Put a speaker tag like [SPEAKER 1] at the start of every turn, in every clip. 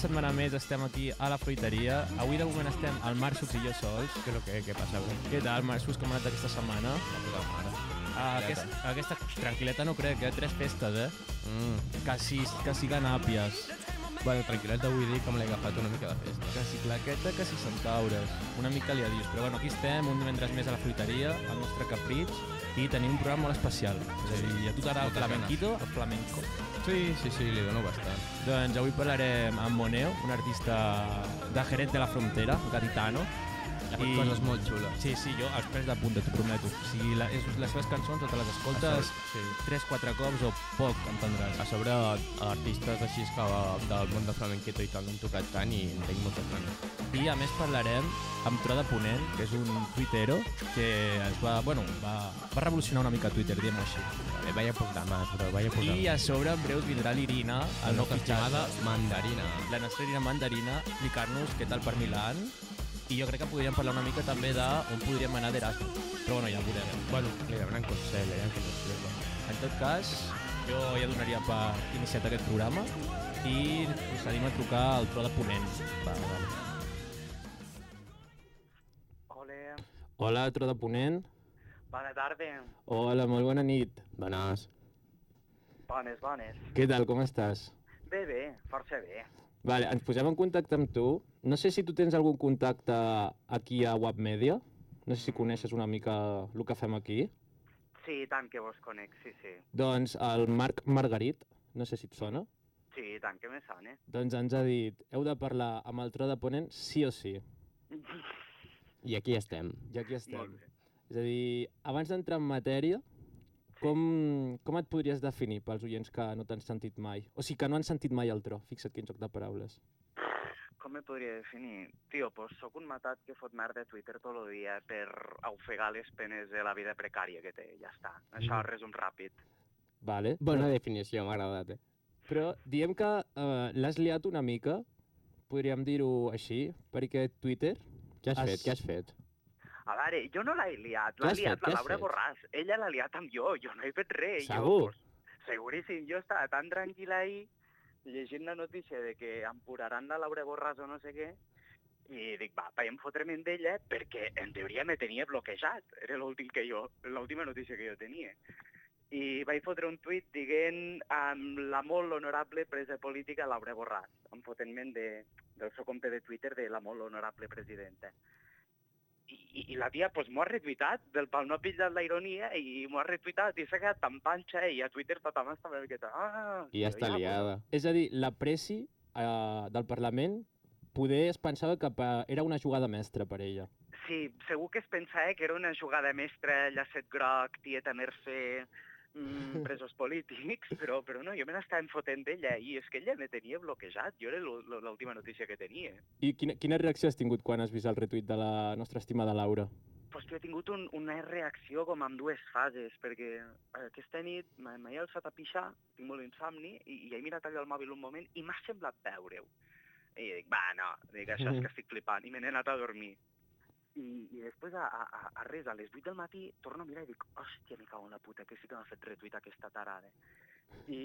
[SPEAKER 1] setmana més estem aquí a la fruiteria. Avui de moment estem al Marxus i jo sols.
[SPEAKER 2] Que lo que, que passa, bro?
[SPEAKER 1] Què tal, Marxus, com ha anat aquesta setmana?
[SPEAKER 2] La puta mare.
[SPEAKER 1] Ah, aquest, aquesta tranquil·leta no crec, eh? Tres festes, eh?
[SPEAKER 2] Mm.
[SPEAKER 1] Quasi, quasi ganàpies.
[SPEAKER 2] Bueno, tranquil·let avui dir com l'he agafat una mica de festa.
[SPEAKER 1] Quasi claqueta, quasi centaures. Una mica li adius. Però bueno, aquí estem, un divendres més a la fruiteria, al nostre capritx, i tenim un programa molt especial. És a dir, a tu t'agrada el
[SPEAKER 2] Molta gana.
[SPEAKER 1] flamenquito, el flamenco.
[SPEAKER 2] Sí, sí, sí, li dono bastant.
[SPEAKER 1] Doncs avui parlarem amb Moneo, un artista de Jerez de la Frontera, gaditano.
[SPEAKER 2] Ha fet coses molt xules.
[SPEAKER 1] Sí, sí, jo els prens de punta, t'ho prometo. O sigui, la, és, les seves cançons, o te les escoltes
[SPEAKER 2] Sí.
[SPEAKER 1] 3-4 cops o poc, entendràs.
[SPEAKER 2] A sobre, artistes així que va- del món del flamenquito i tal no hem tocat tant i en tinc moltes ganes.
[SPEAKER 1] I a més parlarem amb Tro de Ponent, que és un tuitero que es va, bueno, va, va revolucionar una mica Twitter, diguem-ho així.
[SPEAKER 2] Bé, vaya programa, però vaya programa.
[SPEAKER 1] I a sobre en breu vindrà l'Irina, el nou
[SPEAKER 2] estimada
[SPEAKER 1] fitxada,
[SPEAKER 2] mandarina.
[SPEAKER 1] la nostra Irina Mandarina, explicar-nos què tal per Milan i jo crec que podríem parlar una mica també de on podríem anar d'Erasmus. Però bueno, ja ho veurem.
[SPEAKER 2] Bueno, li demanen consell, ja que no sé.
[SPEAKER 1] En tot cas, jo ja donaria per iniciat aquest programa i procedim a trucar al tro de Ponent.
[SPEAKER 2] Va, vale.
[SPEAKER 3] Hola,
[SPEAKER 1] Hola, tro de Ponent.
[SPEAKER 3] bona tarda.
[SPEAKER 1] Hola, molt bona nit.
[SPEAKER 2] Bones.
[SPEAKER 3] Bones, bones.
[SPEAKER 1] Què tal, com estàs?
[SPEAKER 3] Bé, bé, força bé.
[SPEAKER 1] Vale, ens posem en contacte amb tu. No sé si tu tens algun contacte aquí a Webmedia. No sé si coneixes una mica el que fem aquí.
[SPEAKER 3] Sí, i tant que vos conec, sí, sí.
[SPEAKER 1] Doncs el Marc Margarit, no sé si et sona,
[SPEAKER 3] Sí, i tant que me sona.
[SPEAKER 1] doncs ens ha dit heu de parlar amb el tro de Ponent sí o sí.
[SPEAKER 2] I aquí estem.
[SPEAKER 1] I aquí estem.
[SPEAKER 3] Molt bé.
[SPEAKER 1] És a dir, abans d'entrar en matèria, com, com et podries definir pels oients que no t'han sentit mai? O sigui, que no han sentit mai el tro. Fixa't quin joc de paraules.
[SPEAKER 3] Com me podria definir? Tio, pues sóc un matat que fot merda a Twitter tot el dia per ofegar les penes de la vida precària que té, ja està. Això
[SPEAKER 1] Mm.
[SPEAKER 3] resum ràpid.
[SPEAKER 1] Vale.
[SPEAKER 2] Bona definició, m'ha agradat, eh?
[SPEAKER 1] Però diem que eh, l'has liat una mica, podríem dir-ho així, perquè Twitter...
[SPEAKER 2] Què has
[SPEAKER 1] Has-
[SPEAKER 2] fet? Què has fet?
[SPEAKER 3] A veure, jo no l'he liat,
[SPEAKER 2] Què
[SPEAKER 3] l'ha
[SPEAKER 2] has fet?
[SPEAKER 3] liat
[SPEAKER 2] Què
[SPEAKER 3] la
[SPEAKER 2] has
[SPEAKER 3] Laura
[SPEAKER 2] fet?
[SPEAKER 3] Borràs. Ella l'ha liat amb jo, jo no he fet res.
[SPEAKER 2] Segur?
[SPEAKER 3] Jo, pues, seguríssim, jo estava tan tranquil ahir llegint la notícia de que empuraran la Laura Borràs o no sé què, i dic, va, vaig fotre-me amb ella perquè en teoria me tenia bloquejat. Era l'últim que jo, l'última notícia que jo tenia. I vaig fotre un tuit dient amb la molt honorable presa política Laura Borràs, en fotent-me'n de, del seu compte de Twitter de la molt honorable presidenta. I, i, i la tia pues, m'ho ha retuitat, del pal no ha pillat la ironia i m'ho ha retuitat i s'ha quedat tan panxa i a Twitter tothom està una miqueta... Ah,
[SPEAKER 2] I ja està
[SPEAKER 3] pues,
[SPEAKER 2] liada.
[SPEAKER 1] És a dir, la presi eh, del Parlament poder es pensava que pa- era una jugada mestra per ella.
[SPEAKER 3] Sí, segur que es pensava que era una jugada mestra, llacet groc, tieta Mercè, mm, presos polítics, però, però no, jo me n'estava enfotent d'ella i és que ella me tenia bloquejat, jo era l'u- l'u- l'última notícia que tenia.
[SPEAKER 1] I quina, quina reacció has tingut quan has vist el retuit de la nostra estimada Laura?
[SPEAKER 3] Pues que he tingut un, una reacció com amb dues fases, perquè aquesta nit m'he m'he alçat a pixar, tinc molt insomni, i, i he mirat allà el mòbil un moment i m'ha semblat veure-ho. I dic, va, no, dic, això
[SPEAKER 2] Mhm.
[SPEAKER 3] és que estic flipant, i me n'he anat a dormir. I, i després, a, a, a, a res, a les 8 del matí, torno a mirar i dic, hòstia, me cago en la puta, que sí que m'ha fet retuit aquesta tarada. I,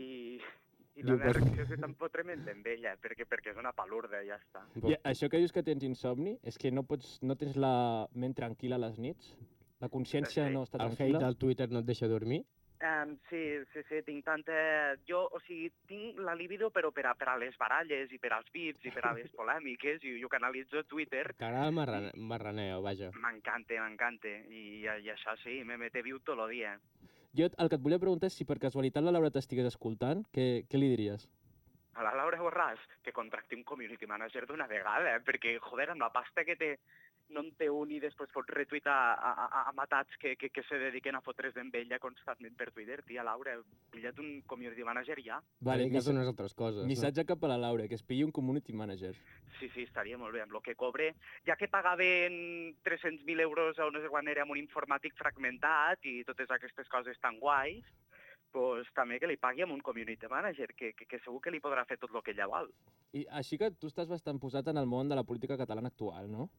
[SPEAKER 3] i la
[SPEAKER 2] Diu,
[SPEAKER 3] meva
[SPEAKER 2] pues-
[SPEAKER 3] reacció és que tampoc tremenda amb ella, perquè, perquè és una palurda, ja està.
[SPEAKER 1] I això que dius que tens insomni és que no, pots, no tens la ment tranquil·la a les nits? La consciència
[SPEAKER 3] Sí.
[SPEAKER 1] no està
[SPEAKER 2] El hate
[SPEAKER 1] tranquil·la?
[SPEAKER 2] del Twitter no et deixa dormir?
[SPEAKER 3] Um, sí, sí, sí, tinc tanta... Jo, o sigui, tinc la libido però per a, per a les baralles i per als vips i per a les polèmiques i jo canalitzo Twitter.
[SPEAKER 2] T'agrada el marrane marraneo, vaja.
[SPEAKER 3] M'encanta, m'encanta. I, I això sí, me mete viu tot el dia.
[SPEAKER 1] Jo el que et volia preguntar és si per casualitat la Laura t'estigués escoltant, què, què li diries?
[SPEAKER 3] A la Laura Borràs, que contracti un community manager d'una vegada, eh? perquè, joder, amb la pasta que té no en té un i després pot retuitar a, a, a- a matats que, que, que se dediquen a fotre's amb ella constantment per Twitter. Tia, Laura, pilla't un community manager ja.
[SPEAKER 1] Vale,
[SPEAKER 2] que
[SPEAKER 1] missa-
[SPEAKER 2] unes altres coses.
[SPEAKER 1] missatge cap a la Laura, que es pilli un community manager.
[SPEAKER 3] Sí, sí, estaria molt bé amb el que cobre. Ja que pagaven 300.000 euros a no sé quan era amb un informàtic fragmentat i totes aquestes coses tan guais, doncs també que li pagui amb un community manager, que, que, que segur que li podrà fer tot el que ella vol.
[SPEAKER 1] I així que tu estàs bastant posat en el món de la política catalana actual, no?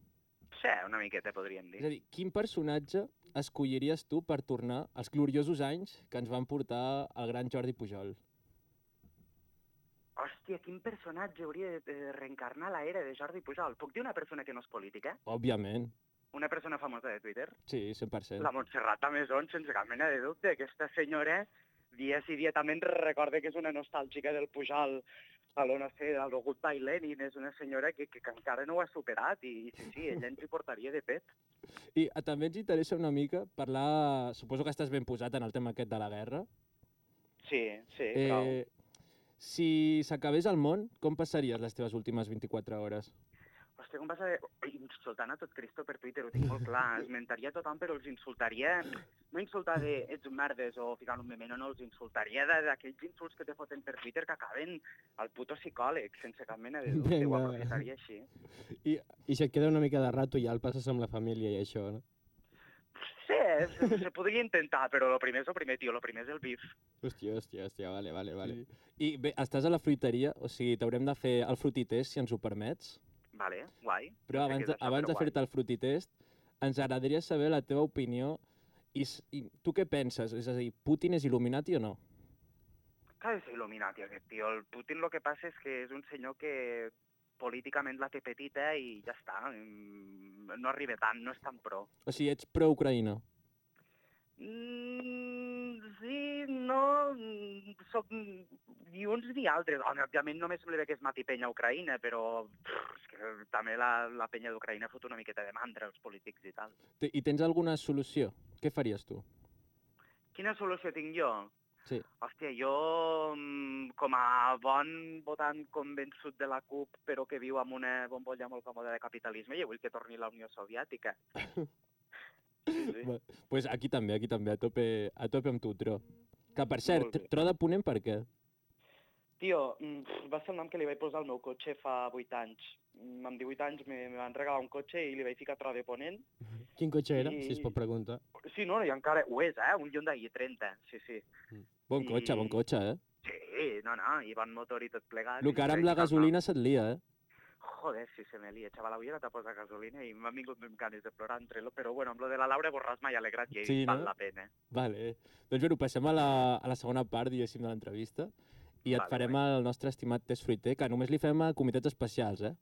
[SPEAKER 3] Sí, una miqueta podríem
[SPEAKER 1] És a
[SPEAKER 3] dir.
[SPEAKER 1] dir, quin personatge escolliries tu per tornar als gloriosos anys que ens van portar el gran Jordi Pujol?
[SPEAKER 3] hòstia, quin personatge hauria de, de reencarnar la era de Jordi Pujol? Puc dir una persona que no és política?
[SPEAKER 1] Òbviament.
[SPEAKER 3] Una persona famosa de Twitter?
[SPEAKER 1] Sí, 100%.
[SPEAKER 3] La Montserrat Amazon, sense cap mena de dubte. Aquesta senyora, dia sí dia també ens recorda que és una nostàlgica del Pujol a lo, no sé, a lo Goodbye Lenin. És una senyora que, que, que encara no ho ha superat i, i sí, sí, ella ens hi portaria de pet.
[SPEAKER 1] I eh, també ens interessa una mica parlar... Suposo que estàs ben posat en el tema aquest de la guerra.
[SPEAKER 3] Sí, sí, eh... però...
[SPEAKER 1] si s'acabés el món, com passaries les teves últimes 24 hores?
[SPEAKER 3] Hòstia, com passa... Ui, Insultant a tot Cristo per Twitter, ho tinc molt clar. Esmentaria a tothom, però els insultaria... No insultar de ets un merdes o ficant un meme, no, no, els insultaria de- d'aquells insults que te foten per Twitter que acaben al puto psicòleg, sense cap mena de dubte, ho
[SPEAKER 2] Vinga.
[SPEAKER 3] aprofitaria així.
[SPEAKER 2] I si et queda una mica de rato ja el passes amb la família i això, no?
[SPEAKER 3] Sí, se, se podria intentar, però lo primer és el primer, tio, lo primer és el bif.
[SPEAKER 2] Hòstia, hòstia, hòstia, vale, vale, vale.
[SPEAKER 1] Sí. I bé, estàs a la fruiteria, o sigui, t'haurem de fer el frutitest, si ens ho permets.
[SPEAKER 3] Vale, guai.
[SPEAKER 1] Però
[SPEAKER 3] No sé
[SPEAKER 1] abans,
[SPEAKER 3] què és
[SPEAKER 1] de,
[SPEAKER 3] això,
[SPEAKER 1] abans
[SPEAKER 3] però
[SPEAKER 1] de fer-te el frutitest, ens agradaria saber la teva opinió i, s- i tu què penses? És a dir, Putin és il·luminati o no?
[SPEAKER 3] Que és il·luminati aquest tio. El Putin lo que passa és que és un senyor que políticament la té petita eh, i ja està. mm, No arriba tant, no és tan pro.
[SPEAKER 1] O sigui, ets pro-Ucraïna.
[SPEAKER 3] Mm, sí, no... mm, Soc ni uns ni altres. Home, òbviament només em ve que es mati penya a Ucraïna, però pff, és que també la, la penya d'Ucraïna fot una miqueta de mandra als polítics i tal.
[SPEAKER 1] Te- I tens alguna solució? Què faries tu?
[SPEAKER 3] Quina solució tinc jo?
[SPEAKER 1] Sí.
[SPEAKER 3] Hòstia, jo mm, com a bon votant convençut de la CUP, però que viu amb una bombolla molt còmoda de capitalisme, jo vull que torni la Unió Soviètica. Sí, sí.
[SPEAKER 1] Doncs pues aquí també, aquí també, a tope, a tope amb tu, Tro. Que, per
[SPEAKER 3] Molt
[SPEAKER 1] cert,
[SPEAKER 3] bé.
[SPEAKER 1] Tro de Ponent per què?
[SPEAKER 3] Tio, mm, pff, va ser el nom que li vaig posar al meu cotxe fa 8 anys. Mm, Amb 18 anys me, me van regalar un cotxe i li vaig ficar Tro de Ponent.
[SPEAKER 2] Quin cotxe era, si es
[SPEAKER 3] I-
[SPEAKER 2] pot preguntar?
[SPEAKER 3] Sí, no, i encara ho és, eh? Un Hyundai i30, sí, sí.
[SPEAKER 1] Bon cotxe, bon
[SPEAKER 3] I-
[SPEAKER 1] cotxe, eh?
[SPEAKER 3] Sí, no, no, i bon motor i tot plegat.
[SPEAKER 1] El
[SPEAKER 3] i
[SPEAKER 1] que ara
[SPEAKER 3] li
[SPEAKER 1] amb la
[SPEAKER 3] vaig ficar el nom.
[SPEAKER 1] gasolina se't lia, eh?
[SPEAKER 3] Joder, si se me lía, chaval, avui he anat a posar gasolina i m'han vingut ganes de plorar entre lo, però bueno, amb lo de la Laura Borràs m'ha alegrat i
[SPEAKER 1] Sí,
[SPEAKER 3] sí, val
[SPEAKER 1] no?
[SPEAKER 3] la pena.
[SPEAKER 1] Vale. Doncs bueno, passem a la, a la segona part, diguéssim, de l'entrevista. I et
[SPEAKER 3] Vale,
[SPEAKER 1] farem el nostre estimat test fruiter, que només li fem a comitets especials, eh?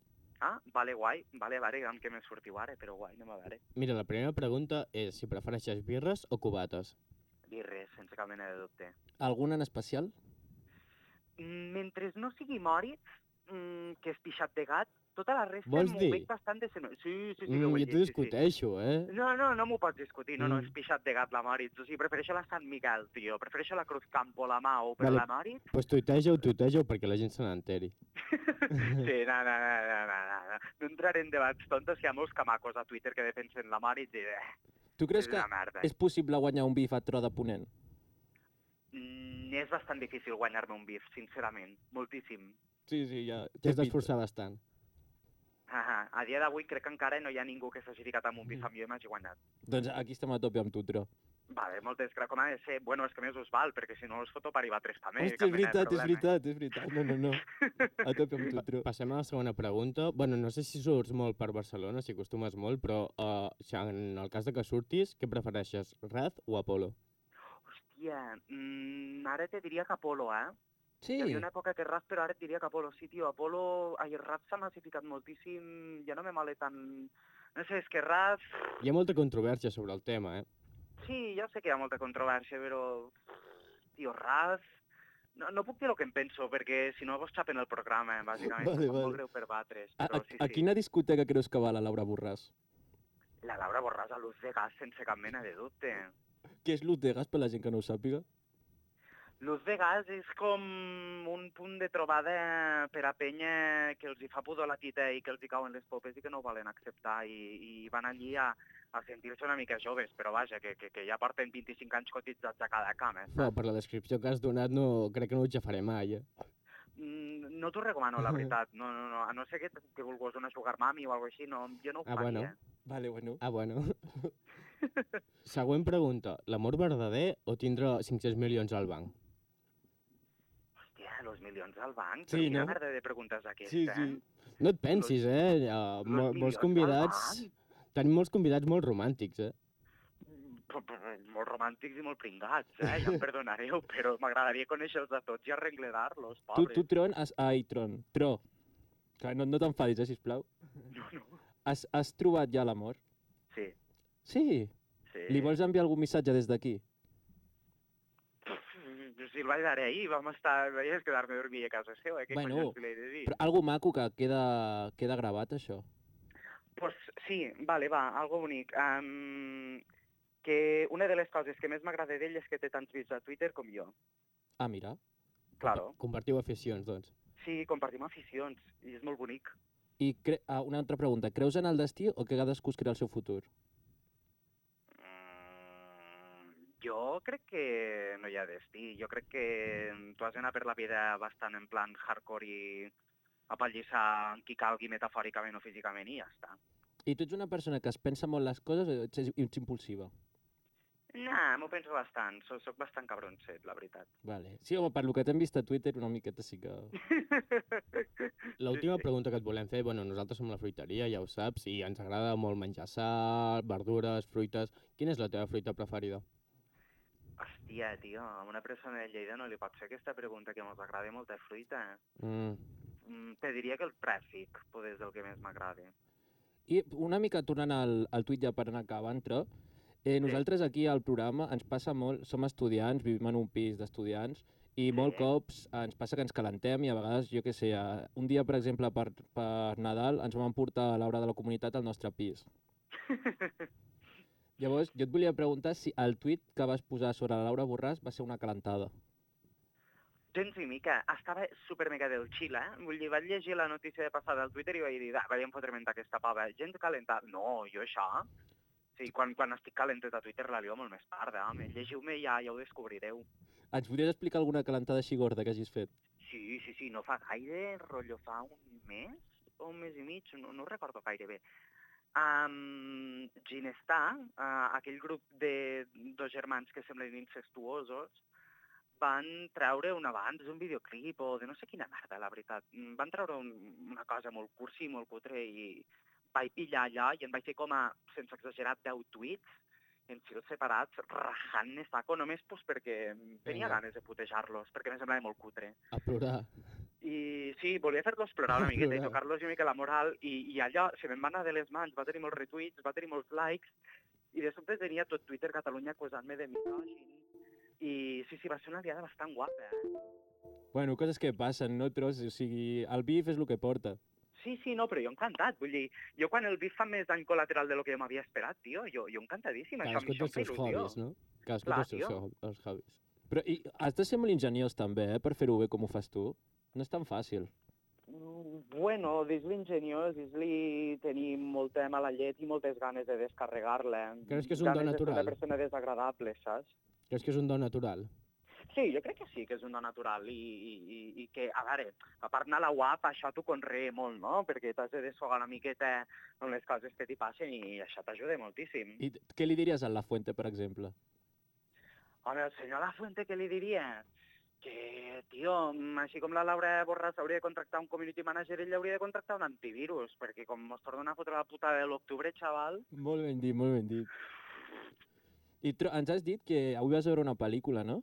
[SPEAKER 3] Ah, vale, guai, vale, vale, amb què me sortiu ara, però guai, no me veure.
[SPEAKER 2] Mira, la primera pregunta és si prefereixes birres o cubates.
[SPEAKER 3] Dir res, sense cap mena de dubte.
[SPEAKER 1] Alguna en especial?
[SPEAKER 3] Mentre no sigui mori, mm, que és pixat de gat, tota la resta
[SPEAKER 2] Vols
[SPEAKER 3] m'ho
[SPEAKER 2] dir?
[SPEAKER 3] veig bastant de seno. Sí, sí, sí, que ho
[SPEAKER 2] Mm,
[SPEAKER 3] he
[SPEAKER 2] jo
[SPEAKER 3] dit,
[SPEAKER 2] t'ho
[SPEAKER 3] sí, sí.
[SPEAKER 2] discuteixo, eh?
[SPEAKER 3] No, no, no m'ho pots discutir, no, no,
[SPEAKER 2] Mm.
[SPEAKER 3] és pixat de gat la Moritz, o sigui, prefereixo la Sant Miquel, tio, prefereixo la Cruz Campo, la Mau, però
[SPEAKER 2] Vale.
[SPEAKER 3] la Moritz
[SPEAKER 2] Doncs pues tuiteja-ho, tuiteja-ho perquè la gent se n'enteri.
[SPEAKER 3] Sí, no, no, no, no, no, no, no. No entraré en debats tontos que hi ha molts camacos a Twitter que defensen la mort i dir, eh,
[SPEAKER 1] Tu creus
[SPEAKER 3] és
[SPEAKER 1] que
[SPEAKER 3] una merda. És...
[SPEAKER 1] és possible guanyar un bif a tro de ponent?
[SPEAKER 3] Mm, és bastant difícil guanyar-me un bif, sincerament, moltíssim.
[SPEAKER 1] Sí, sí, ja.
[SPEAKER 2] T'has d'esforçar bastant.
[SPEAKER 3] Ahà. A dia d'avui crec que encara no hi ha ningú que s'hagi ficat amb un
[SPEAKER 1] Mm.
[SPEAKER 3] bif amb jo i m'hagi guanyat.
[SPEAKER 1] Doncs aquí estem a tope amb tu, tro.
[SPEAKER 3] Vale, moltes gràcies. Com ha de ser? Bueno, és que a més us val, perquè si no us foto per IVA3 també.
[SPEAKER 1] Hòstia,
[SPEAKER 3] cap
[SPEAKER 1] és
[SPEAKER 3] mena de
[SPEAKER 1] veritat, és
[SPEAKER 3] problema.
[SPEAKER 1] veritat, és veritat. No, no, no. A tope amb tu, tro.
[SPEAKER 2] Passem a la segona pregunta. Bueno, no sé si surts molt per Barcelona, si acostumes molt, però uh, en el cas de que surtis, què prefereixes, Raz o Apolo?
[SPEAKER 3] Hòstia, mm, ara te diria que Apolo, eh?
[SPEAKER 1] Sí.
[SPEAKER 3] Hi havia una època que rap, però ara et diria que Apolo sí, tio. Apolo, ai, rap s'ha massificat moltíssim, ja no me male tant... No sé, és que rap...
[SPEAKER 2] Hi ha molta controvèrsia sobre el tema, eh?
[SPEAKER 3] Sí, ja sé que hi ha molta controvèrsia, però... Tio, rap... No, no puc dir el que em penso, perquè si no vos xapen el programa, eh, bàsicament. em
[SPEAKER 1] Vale,
[SPEAKER 3] Vale, vale.
[SPEAKER 1] vale.
[SPEAKER 3] Molt greu per batre's,
[SPEAKER 1] A,
[SPEAKER 3] però
[SPEAKER 1] a,
[SPEAKER 3] sí,
[SPEAKER 1] a
[SPEAKER 3] sí.
[SPEAKER 1] quina discoteca creus que va la Laura Borràs?
[SPEAKER 3] La Laura Borràs a l'ús de gas, sense cap mena de dubte.
[SPEAKER 1] Què és l'ús de gas per la gent que no ho sàpiga?
[SPEAKER 3] L'ús de gas és com un punt de trobada per a penya que els hi fa pudor la tita i que els hi cauen les popes i que no ho volen acceptar i, i van allí a, a sentir-se una mica joves, però vaja, que, que, que ja porten 25 anys cotitzats a cada eh? cama.
[SPEAKER 2] Però per la descripció que has donat no, crec que no ho jafaré mai, eh?
[SPEAKER 3] Mm, no t'ho recomano, la veritat. No, no, no. A no ser que, que vulguis una sugar mami o alguna així, no, jo no ho
[SPEAKER 2] Ah,
[SPEAKER 3] faria. eh?
[SPEAKER 2] bueno.
[SPEAKER 1] Vale, bueno.
[SPEAKER 2] Ah, bueno. Següent pregunta. L'amor verdader o tindre 500 milions al banc?
[SPEAKER 3] Hòstia, los milions al banc?
[SPEAKER 1] Sí,
[SPEAKER 3] Sí, quina
[SPEAKER 1] no?
[SPEAKER 3] no? merda de preguntes aquesta,
[SPEAKER 1] Sí, sí.
[SPEAKER 3] eh?
[SPEAKER 2] No et pensis, eh? Uh,
[SPEAKER 3] Los
[SPEAKER 2] mol molts
[SPEAKER 3] milions al
[SPEAKER 2] convidats...
[SPEAKER 3] banc?
[SPEAKER 2] Tenim molts convidats molt romàntics, eh?
[SPEAKER 3] Mm, molt romàntics i molt pringats, eh? Ja em perdonareu, però m'agradaria conèixer-los a tots i arreglar-los,
[SPEAKER 1] Tu,
[SPEAKER 3] pobres.
[SPEAKER 1] tu Tron, has... ai, Tron, Tro, que no, no t'enfadis, eh, sisplau.
[SPEAKER 3] No, no.
[SPEAKER 1] Has, has trobat ja l'amor?
[SPEAKER 3] Sí,
[SPEAKER 1] Sí.
[SPEAKER 3] sí.
[SPEAKER 1] Li vols enviar algun missatge des d'aquí?
[SPEAKER 3] Pff, Si el vaig veure ahir, vam estar... Veies quedar-me a dormir a casa seva, eh? Què
[SPEAKER 1] Bueno,
[SPEAKER 3] collons li he de dir?
[SPEAKER 1] Però algo maco que queda, queda gravat, això.
[SPEAKER 3] Pues sí, vale, va, algo bonic. Um, que una de les coses que més m'agrada d'ell és que té tants vits a Twitter com jo.
[SPEAKER 1] Ah, mira.
[SPEAKER 3] Claro.
[SPEAKER 2] Compartiu aficions, doncs.
[SPEAKER 3] Sí, compartim aficions i és molt bonic.
[SPEAKER 1] I cre... ah, una altra pregunta. Creus en el destí o que cadascú es crea el seu futur?
[SPEAKER 3] Mm, jo crec que no hi ha destí. Jo crec que tu has d'anar per la vida bastant en plan hardcore i apallissar amb qui calgui metafòricament o físicament i ja està.
[SPEAKER 1] I tu ets una persona que es pensa molt les coses o ets, ets impulsiva?
[SPEAKER 3] Nah, m'ho penso bastant. Soc, soc bastant cabronset, la veritat.
[SPEAKER 1] Vale. Sí, home, per lo que t'hem vist a Twitter, una miqueta sí que...
[SPEAKER 2] L'última pregunta que et volem fer, bueno, nosaltres som la fruiteria, ja ho saps, i ens agrada molt menjar sal, verdures, fruites... Quina és la teva fruita preferida?
[SPEAKER 3] Hòstia, tio, a una persona de Lleida no li pot fer aquesta pregunta que mos agrada molta fruita.
[SPEAKER 2] Mm.
[SPEAKER 3] Mm, te diria que el tràfic, poder, és el que més m'agrada.
[SPEAKER 1] I una mica tornant al, al tuit ja per anar acabant, però, eh, nosaltres aquí al programa ens passa molt, som estudiants, vivim en un pis d'estudiants, i
[SPEAKER 3] Sí.
[SPEAKER 1] molt cops ens passa que ens calentem i a vegades, jo què sé, a- un dia, per exemple, per, per Nadal ens vam portar a l'hora de la comunitat al nostre pis. Llavors, jo et volia preguntar si el tuit que vas posar sobre la Laura Borràs va ser una calentada.
[SPEAKER 3] Gens ni mica, estava super mega del xil, eh? Vull dir, vaig llegir la notícia de passada al Twitter i vaig dir, ah, vaig fotre ment aquesta pava, gens calenta. No, jo això... Sí, quan, quan estic calentet a Twitter la lio molt més tarda, home. Llegiu-me i ja, ja ho descobrireu.
[SPEAKER 1] Ens podries explicar alguna calentada així gorda que hagis fet?
[SPEAKER 3] Sí, sí, sí, no fa gaire, rotllo fa un mes o un mes i mig, no, no ho recordo gaire bé. Um, Ginestà, uh, aquell grup de dos germans que semblen incestuosos, van treure un abans, un videoclip o de no sé quina merda, la veritat. Mm, Van treure un, una cosa molt cursi, molt cutre i vaig pillar allò i en vaig fer com a, sense exagerar, 10 tuits en fils separats, rajant-ne saco, només pues, perquè tenia
[SPEAKER 2] Vinga.
[SPEAKER 3] ganes de putejar-los, perquè em semblava molt cutre.
[SPEAKER 2] A plorar.
[SPEAKER 3] I sí, volia fer-los plorar una miqueta i
[SPEAKER 2] Plorar.
[SPEAKER 3] tocar-los una mica la moral i, i allò se me'n va anar de les mans, va tenir molts retuits, va tenir molts likes i de sobte tenia tot Twitter Catalunya acusant-me de misògin i sí, sí, va ser una diada bastant guapa. eh?
[SPEAKER 1] Bueno, coses que passen, no tros, o sigui, el bif és el que porta.
[SPEAKER 3] Sí, sí, no, però jo encantat, vull dir, jo quan el bif fa més dany col·lateral de lo que jo m'havia esperat, tio, jo, jo encantadíssim, això,
[SPEAKER 2] Cadascú té
[SPEAKER 3] això
[SPEAKER 2] els seus hobbies, no? Cadascú té
[SPEAKER 3] Clar,
[SPEAKER 2] els seus
[SPEAKER 3] tio.
[SPEAKER 2] hob- els hobbies.
[SPEAKER 1] Però i, has de ser molt ingeniós també, eh, per fer-ho bé com ho fas tu. No és tan fàcil.
[SPEAKER 3] Mm, Bueno, dis-li ingeniós, dis-li tenir molta mala llet i moltes ganes de descarregar-la.
[SPEAKER 2] Creus que és un do
[SPEAKER 3] Ganes de ser
[SPEAKER 2] natural?
[SPEAKER 3] una persona desagradable, saps?
[SPEAKER 2] Creus que és un do natural?
[SPEAKER 3] Sí, jo crec que sí, que és un do natural i, i, i- i que, a veure, a part anar a la UAP, això t'ho conrea molt, no? Perquè t'has de desfogar una miqueta amb les coses que t'hi passen i això t'ajuda moltíssim.
[SPEAKER 1] I t- què li diries a La Fuente, per exemple?
[SPEAKER 3] Home, el senyor La Fuente, què li diria? Que, tio, mm, així com la Laura Borràs hauria de contractar un community manager, ell hauria de contractar un antivirus, perquè com mos tornen a fotre la putada de l'octubre, xaval...
[SPEAKER 1] Molt ben dit, molt ben dit. I tro- ens has dit que avui vas a veure una pel·lícula, no?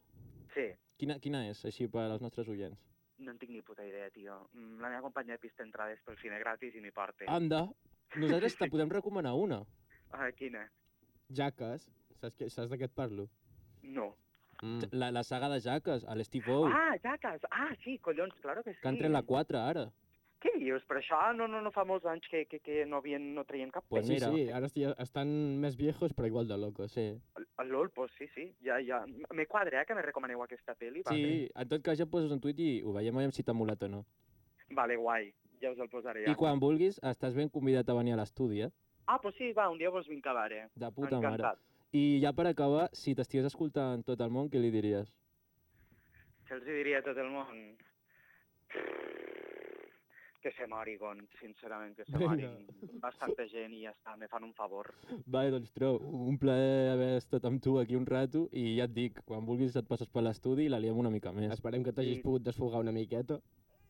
[SPEAKER 3] Sí,
[SPEAKER 1] Quina, quina és, així, per als nostres oients?
[SPEAKER 3] no en tinc ni puta idea, tio. Mm, La meva companya de pista entrades pel cine gratis i m'hi porta. Ah.
[SPEAKER 1] Anda, nosaltres te podem recomanar una.
[SPEAKER 3] quina?
[SPEAKER 2] Jaques, saps, que, saps de què et parlo?
[SPEAKER 3] No.
[SPEAKER 2] Mm.
[SPEAKER 1] La, la saga de Jaques, a l'Steve O,
[SPEAKER 3] Ah, jaques! Ah, sí, collons, claro que sí.
[SPEAKER 1] que han tret la 4 ara.
[SPEAKER 3] Què dius? Però això no, no, no fa molts anys que, que, que no, havien, no traien cap
[SPEAKER 1] Pues
[SPEAKER 2] sí,
[SPEAKER 1] mira.
[SPEAKER 2] sí, ara esti- estan més viejos però igual de locos.
[SPEAKER 1] Sí.
[SPEAKER 3] El LOL, pues sí, sí. Ja, ja. Me quadra, eh, que me recomaneu aquesta
[SPEAKER 1] sí,
[SPEAKER 3] pel·li. Vale.
[SPEAKER 1] en tot cas ja poses un tuit i ho veiem, veiem si t'ha molat o no.
[SPEAKER 3] Vale, guai. Ja us el posaré.
[SPEAKER 1] I
[SPEAKER 3] Ja.
[SPEAKER 1] quan vulguis, estàs ben convidat a venir a l'estudi, eh?
[SPEAKER 3] Ah, pues sí, va, un dia vos vinc a veure.
[SPEAKER 1] De puta mare.
[SPEAKER 3] Encantat.
[SPEAKER 1] I ja per acabar, si t'estigués escoltant tot el món, què li diries?
[SPEAKER 3] Què els hi diria a tot el món? Que se mori, Gon, sincerament, que se
[SPEAKER 2] Vinga.
[SPEAKER 3] mori. Bastanta gent i ja està, me fan un favor.
[SPEAKER 1] Vale, doncs Tro, un plaer haver estat amb tu aquí un rato i ja et dic, quan vulguis et passes per l'estudi i la liem una mica més.
[SPEAKER 2] Esperem que t'hagis
[SPEAKER 3] Sí.
[SPEAKER 2] pogut desfogar una miqueta.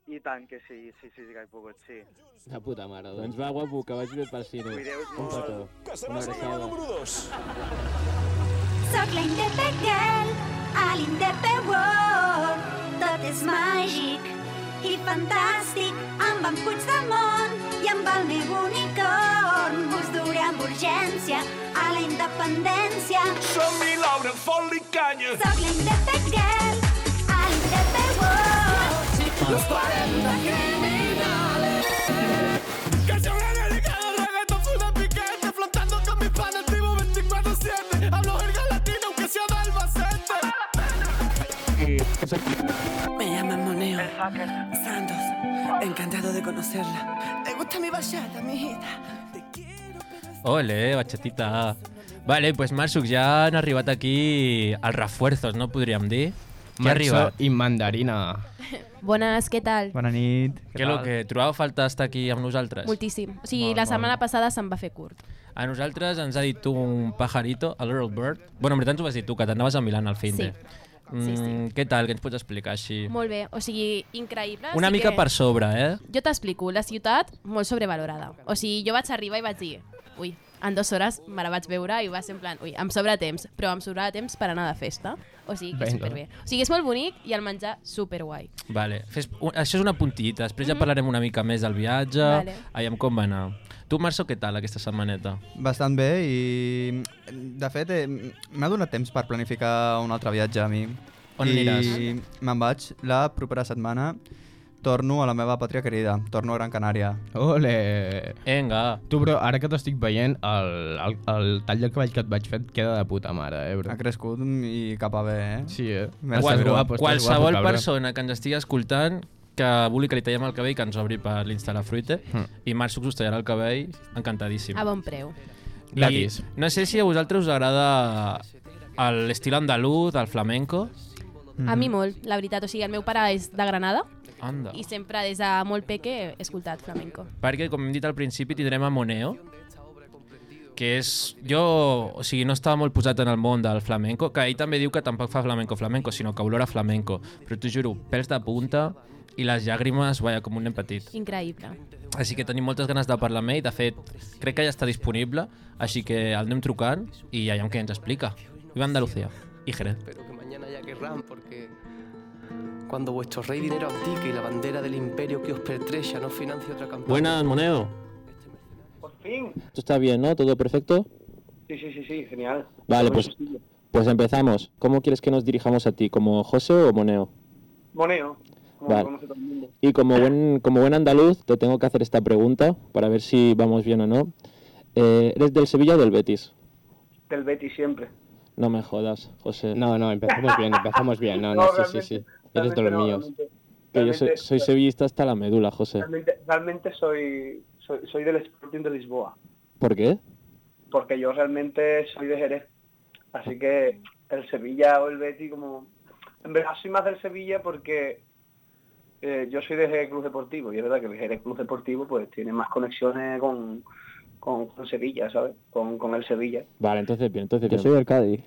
[SPEAKER 3] I tant que sí, sí, sí, sí que he pogut, sí.
[SPEAKER 2] De puta mare, doncs.
[SPEAKER 1] Doncs va, guapo, que vagi bé per cine.
[SPEAKER 3] Cuideu-vos
[SPEAKER 1] Un
[SPEAKER 3] molt.
[SPEAKER 1] petó.
[SPEAKER 4] Que seràs
[SPEAKER 1] Una
[SPEAKER 4] la meva
[SPEAKER 1] abraçada.
[SPEAKER 4] número 2.
[SPEAKER 5] Soc la independent a l'Indepe World. Tot és màgic i fantàstic amb en Puigdemont i amb el meu unicorn. Us duré amb urgència a la independència.
[SPEAKER 6] Som-hi, Laura, fot-li canya!
[SPEAKER 5] Soc la independent a l'Indepe World.
[SPEAKER 6] Los 40 criminales Canciones dedicadas al reggaetón full de piquete Flotando con mis panas vivo 24-7 Hablo jerga latina aunque sea de Albacete
[SPEAKER 7] Me llaman Moneo. Santos. Encantado de conocerla. ¿Te gusta mi bachata, mijita? Te quiero, pero es-
[SPEAKER 1] Ole, batxetita. Vale, pues Marsuc, ja han arribat aquí els refuerzos, no podríem dir. M'ha arribat.
[SPEAKER 2] i mandarina.
[SPEAKER 8] Bones, què tal?
[SPEAKER 9] Bona nit.
[SPEAKER 1] Què lo que trobava falta estar aquí amb nosaltres?
[SPEAKER 8] Moltíssim. O sigui,
[SPEAKER 1] Molt,
[SPEAKER 8] la
[SPEAKER 1] molt.
[SPEAKER 8] setmana passada se'n va fer curt.
[SPEAKER 1] A nosaltres ens ha dit tu un pajarito, a Little Bird. Bueno, en veritat ens ho vas dir tu, que t'anaves a Milan al fin de.
[SPEAKER 8] Sí, sí.
[SPEAKER 1] Mm, què tal? Què ens pots explicar així?
[SPEAKER 8] Molt bé, o sigui, increïble.
[SPEAKER 1] Una
[SPEAKER 8] sí
[SPEAKER 1] mica
[SPEAKER 8] que...
[SPEAKER 1] per sobre, eh?
[SPEAKER 8] Jo t'explico, la ciutat molt sobrevalorada. O sigui, jo vaig arribar i vaig dir, ui, en dues hores me la vaig veure i va ser en plan, ui, em sobra temps, però em sobra temps per anar de festa. O sigui, que és
[SPEAKER 1] Vinga.
[SPEAKER 8] superbé. O sigui, és molt bonic i el menjar superguai.
[SPEAKER 1] Vale. Fes, un, això és una puntillita, després ja parlarem una mica més del viatge,
[SPEAKER 8] Mm-hmm. Vale.
[SPEAKER 1] aviam com va anar. Tu, Março, què tal aquesta setmaneta?
[SPEAKER 9] Bastant bé i... De fet, eh, m'ha donat temps per planificar un altre viatge a mi.
[SPEAKER 1] On
[SPEAKER 9] I
[SPEAKER 1] aniràs?
[SPEAKER 9] me'n vaig la propera setmana. Torno a la meva pàtria querida. Torno a Gran Canària.
[SPEAKER 1] Oh.
[SPEAKER 2] Ole!
[SPEAKER 1] Vinga.
[SPEAKER 2] Tu, bro, ara que t'estic veient, el, el, el tall de cavall que et vaig fer et queda de puta mare, eh, bro?
[SPEAKER 9] Ha crescut i cap a bé, eh?
[SPEAKER 2] Sí, eh?
[SPEAKER 9] Merci,
[SPEAKER 2] Estàs
[SPEAKER 9] bro.
[SPEAKER 2] guapo, estàs
[SPEAKER 1] Qualsevol
[SPEAKER 2] guapo, cabra.
[SPEAKER 1] persona que ens estigui escoltant que vulgui que li tallem el cabell que ens obri per l'Instalafruite
[SPEAKER 2] Hmm.
[SPEAKER 1] mm. i Março us tallarà el cabell encantadíssim.
[SPEAKER 8] A bon preu.
[SPEAKER 2] Gratis.
[SPEAKER 1] I no sé si a vosaltres us agrada el l'estil andalús, el flamenco.
[SPEAKER 8] Mm.
[SPEAKER 1] Mhm.
[SPEAKER 8] A mi molt, la veritat. O sigui, el meu pare és de Granada
[SPEAKER 1] Anda.
[SPEAKER 8] i sempre des de molt peque he escoltat flamenco.
[SPEAKER 1] Perquè, com hem dit al principi, tindrem a Moneo, que és... Jo, o sigui, no estava molt posat en el món del flamenco, que ell també diu que tampoc fa flamenco-flamenco, sinó que olora flamenco. Però t'ho juro, pèls de punta i les llàgrimes, vaja, com un nen petit.
[SPEAKER 8] Increïble.
[SPEAKER 1] Així que tenim moltes ganes de parlar amb ell. De fet, crec que ja està disponible, així que el anem trucant i ja què ens explica. Viva Andalucía. I Jerez.
[SPEAKER 10] Espero que mañana ya querrán, porque cuando vuestro rey dinero abdique y la bandera del imperio que os pertrecha no financie otra campaña.
[SPEAKER 11] Buenas, Moneo.
[SPEAKER 3] Por fin.
[SPEAKER 11] Esto está bien, ¿no? ¿Todo perfecto?
[SPEAKER 3] Sí, sí, sí, sí, genial.
[SPEAKER 11] Vale, pues, pues empezamos. ¿Cómo quieres que nos dirijamos a ti? ¿Como José o Moneo?
[SPEAKER 3] Moneo, como
[SPEAKER 11] Vale.
[SPEAKER 3] lo conoce todo el mundo.
[SPEAKER 11] Y como buen, como buen andaluz, te tengo que hacer esta pregunta para ver si vamos bien o no. Eh, ¿Eres del Sevilla o del Betis?
[SPEAKER 3] Del Betty siempre.
[SPEAKER 11] No me jodas, José.
[SPEAKER 2] No, no, empezamos bien, empezamos bien. No, no, sí, sí, sí. Eres de
[SPEAKER 3] Realmente
[SPEAKER 2] los
[SPEAKER 3] no,
[SPEAKER 2] míos.
[SPEAKER 3] realmente-
[SPEAKER 11] que yo soy,
[SPEAKER 3] realmente-
[SPEAKER 11] soy sevillista hasta la médula, José.
[SPEAKER 3] Realmente, realmente soy, soy, soy del Sporting de Lisboa,
[SPEAKER 11] ¿Por qué?
[SPEAKER 3] porque yo realmente soy de Jerez. Así que el Sevilla o el Betty como... En verdad soy más del Sevilla porque eh, yo soy de Jerez Club Deportivo y es verdad que el Jerez Club Deportivo pues tiene más conexiones con, con, con Sevilla, ¿sabes? Con, con el Sevilla.
[SPEAKER 11] Vale, entonces bien, entonces bien.
[SPEAKER 9] del Cádiz.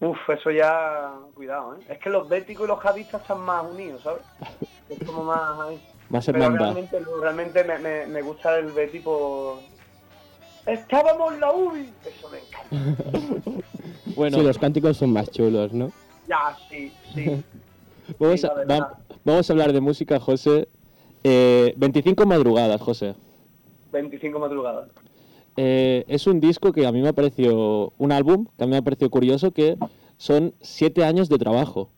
[SPEAKER 3] Uf, eso ya... Cuidado, ¿eh? Es que los béticos y los javistas están más unidos, ¿sabes? Es como más... ahí.
[SPEAKER 11] Más
[SPEAKER 3] Pero
[SPEAKER 11] hermandad.
[SPEAKER 3] realmente, realmente me, me, me gusta el Betty por... ¡Estábamos en la UBI! Eso me encanta.
[SPEAKER 11] Bueno,
[SPEAKER 2] Sí, los cánticos son más chulos, ¿no?
[SPEAKER 3] Ya, sí, sí.
[SPEAKER 11] vamos,
[SPEAKER 3] sí,
[SPEAKER 11] a,
[SPEAKER 3] la verdad.
[SPEAKER 11] vam- vamos a hablar de música, José. Eh, 25 madrugadas, José.
[SPEAKER 3] 25 madrugadas.
[SPEAKER 11] Eh, es un disco que a mí me ha parecido, un álbum que a mí me ha parecido curioso, que son siete años de trabajo.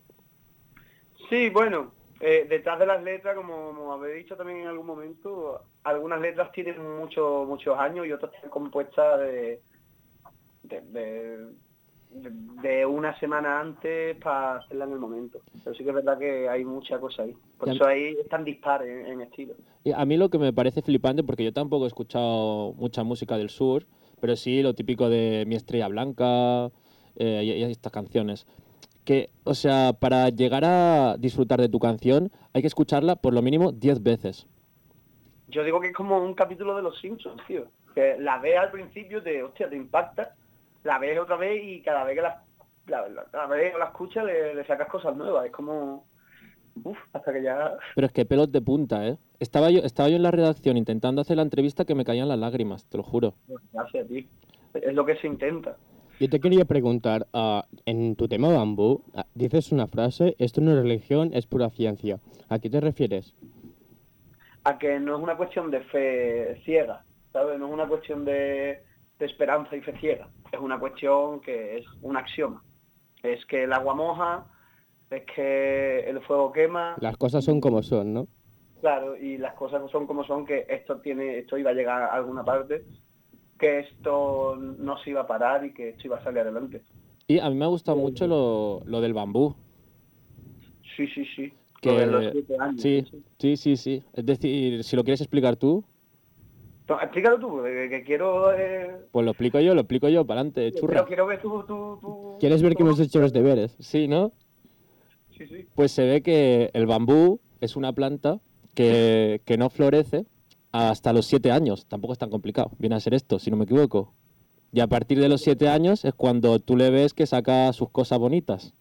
[SPEAKER 3] Sí, bueno, eh, detrás de las letras, como, como habéis dicho también en algún momento, algunas letras tienen mucho, muchos años y otras están compuestas de, de, de- de- de una semana antes para hacerla en el momento. Pero sí que es verdad que hay mucha cosa ahí. Por
[SPEAKER 11] Ya-
[SPEAKER 3] eso ahí están dispares en, en estilo.
[SPEAKER 11] Y a mí lo que me parece flipante, porque yo tampoco he escuchado mucha música del sur, pero sí lo típico de Mi Estrella Blanca eh, y, y estas canciones. Que, o sea, para llegar a disfrutar de tu canción hay que escucharla por lo mínimo 10 veces.
[SPEAKER 3] Yo digo que es como un capítulo de los Simpsons, tío. Que la ves al principio, te, hostia, te impacta, la ves otra vez y cada vez que la, la- la- cada vez que la escuchas le, le sacas cosas nuevas. Es como... Uf, hasta que ya...
[SPEAKER 11] Pero es que pelos de punta, ¿eh? Estaba yo, estaba yo en la redacción intentando hacer la entrevista que me caían las lágrimas, te lo juro.
[SPEAKER 3] Gracias, tío. Es lo que se intenta.
[SPEAKER 2] Yo te quería preguntar, ah, en tu tema bambú, ah, dices una frase, esto no es religión, es pura ciencia. ¿A qué te refieres?
[SPEAKER 3] a que no es una cuestión de fe ciega, ¿sabes? No es una cuestión de, de esperanza y fe ciega. Es una cuestión que es un axioma. Es que el agua moja, es que el fuego quema,
[SPEAKER 2] Las cosas son como son, ¿no?
[SPEAKER 3] Claro, y las cosas son como son, que esto tiene, esto iba a llegar a alguna parte, que esto no se iba a parar y que esto iba a salir adelante.
[SPEAKER 1] Y a mí me ha gustado mucho lo, lo del bambú.
[SPEAKER 3] Sí, sí, sí.
[SPEAKER 1] Que,
[SPEAKER 3] Lo de los siete años,
[SPEAKER 1] sí, sí, sí, sí. Es decir, si lo quieres explicar tú,
[SPEAKER 3] Entonces, explícalo tú, que, que quiero, eh,
[SPEAKER 1] pues lo explico yo, lo explico yo, para adelante, churra.
[SPEAKER 3] quiero, quiero ver tu, tu, tu-
[SPEAKER 2] ¿Quieres ver que hemos hecho los deberes?
[SPEAKER 1] Sí, ¿no?
[SPEAKER 3] Sí, sí.
[SPEAKER 1] Pues se ve que el bambú es una planta que, que no florece hasta los siete años. Tampoco es tan complicado. Viene a ser esto, si no me equivoco. Y a partir de los siete años es cuando tú le ves que saca sus cosas bonitas.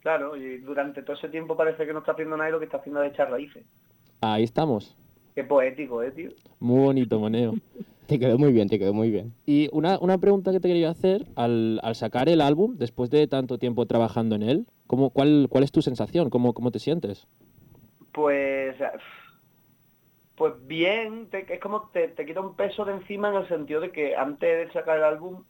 [SPEAKER 3] Claro, y durante todo ese tiempo parece que no está haciendo nada y lo que está haciendo es echar raíces.
[SPEAKER 1] Ahí estamos.
[SPEAKER 3] Qué poético, ¿eh, tío?
[SPEAKER 1] Muy bonito, Moneo.
[SPEAKER 2] Te quedó muy bien, te quedó muy bien.
[SPEAKER 1] Y una, una pregunta que te quería hacer, al, al sacar el álbum, después de tanto tiempo trabajando en él, ¿cómo, cuál, ¿cuál es tu sensación? ¿Cómo, cómo te sientes?
[SPEAKER 3] Pues, pues bien, te- es como te, te quita un peso de encima en el sentido de que antes de sacar el álbum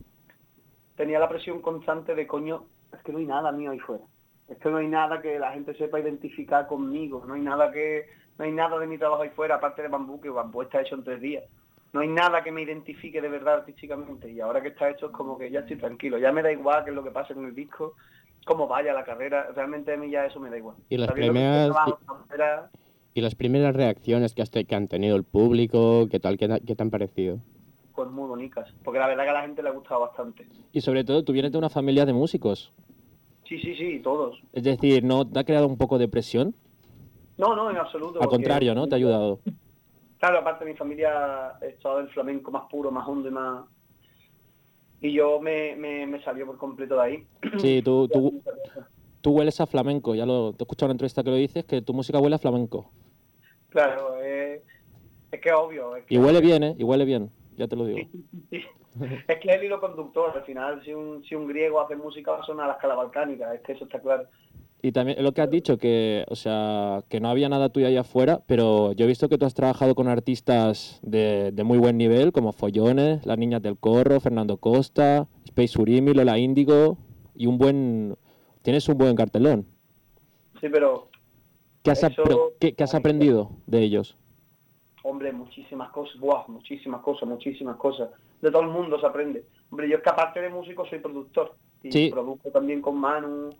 [SPEAKER 3] tenía la presión constante de coño, es que no hay nada mío ahí fuera. Es que no hay nada que la gente sepa identificar conmigo, no hay nada que, no hay nada de mi trabajo ahí fuera, aparte de bambú, que bambú está hecho en tres días. No hay nada que me identifique de verdad artísticamente y ahora que está hecho es como que ya estoy tranquilo, ya me da igual qué es lo que pase en el disco, cómo vaya la carrera, realmente a mí ya eso me da igual.
[SPEAKER 2] Y las
[SPEAKER 3] Sabiendo que
[SPEAKER 2] primeras-
[SPEAKER 3] este trabajo, la carrera,
[SPEAKER 2] ¿Y las primeras reacciones que, has te- que han tenido el público? ¿Qué tal? ¿Qué, ta- qué te han parecido?
[SPEAKER 3] pues muy bonitas, porque la verdad que a la gente le ha gustado bastante.
[SPEAKER 1] Y sobre todo, tú vienes de una familia de músicos.
[SPEAKER 3] Sí, sí, sí, todos.
[SPEAKER 1] Es decir, ¿no te ha creado un poco de presión?
[SPEAKER 3] No, no, en absoluto.
[SPEAKER 1] Al
[SPEAKER 3] porque-
[SPEAKER 1] contrario, ¿no? Te ha ayudado.
[SPEAKER 3] Claro, aparte mi familia es todo el flamenco más puro, más hondo y más... Y yo me, me, me salió por completo de ahí.
[SPEAKER 1] Sí, tú, tú, tú hueles a flamenco. Ya lo te he escuchado en una entrevista que lo dices, que tu música huele a flamenco.
[SPEAKER 3] Claro, eh, es que es obvio. Es que,
[SPEAKER 1] Y huele bien, ¿eh? Y huele bien, ya te lo digo.
[SPEAKER 3] es que es el hilo conductor, al final, si un, si un griego hace música, va a sonar a la escala balcánica, es que eso está claro.
[SPEAKER 1] Y también lo que has dicho, que, o sea, que no había nada tuyo allá afuera, pero yo he visto que tú has trabajado con artistas de, de muy buen nivel, como Follones, Las Niñas del Corro, Fernando Costa, Space Urimi, Lola Índigo, y un buen... Tienes un buen cartelón.
[SPEAKER 3] Sí, pero
[SPEAKER 1] ¿Qué has, ap-
[SPEAKER 3] Eso-
[SPEAKER 1] pero qué- qué has aprendido de ellos?
[SPEAKER 3] Hombre, muchísimas cosas, guau, muchísimas cosas, muchísimas cosas. De todo el mundo se aprende. Hombre, yo es que aparte de músico soy productor. Y
[SPEAKER 1] Sí.
[SPEAKER 3] produzco también con Manu,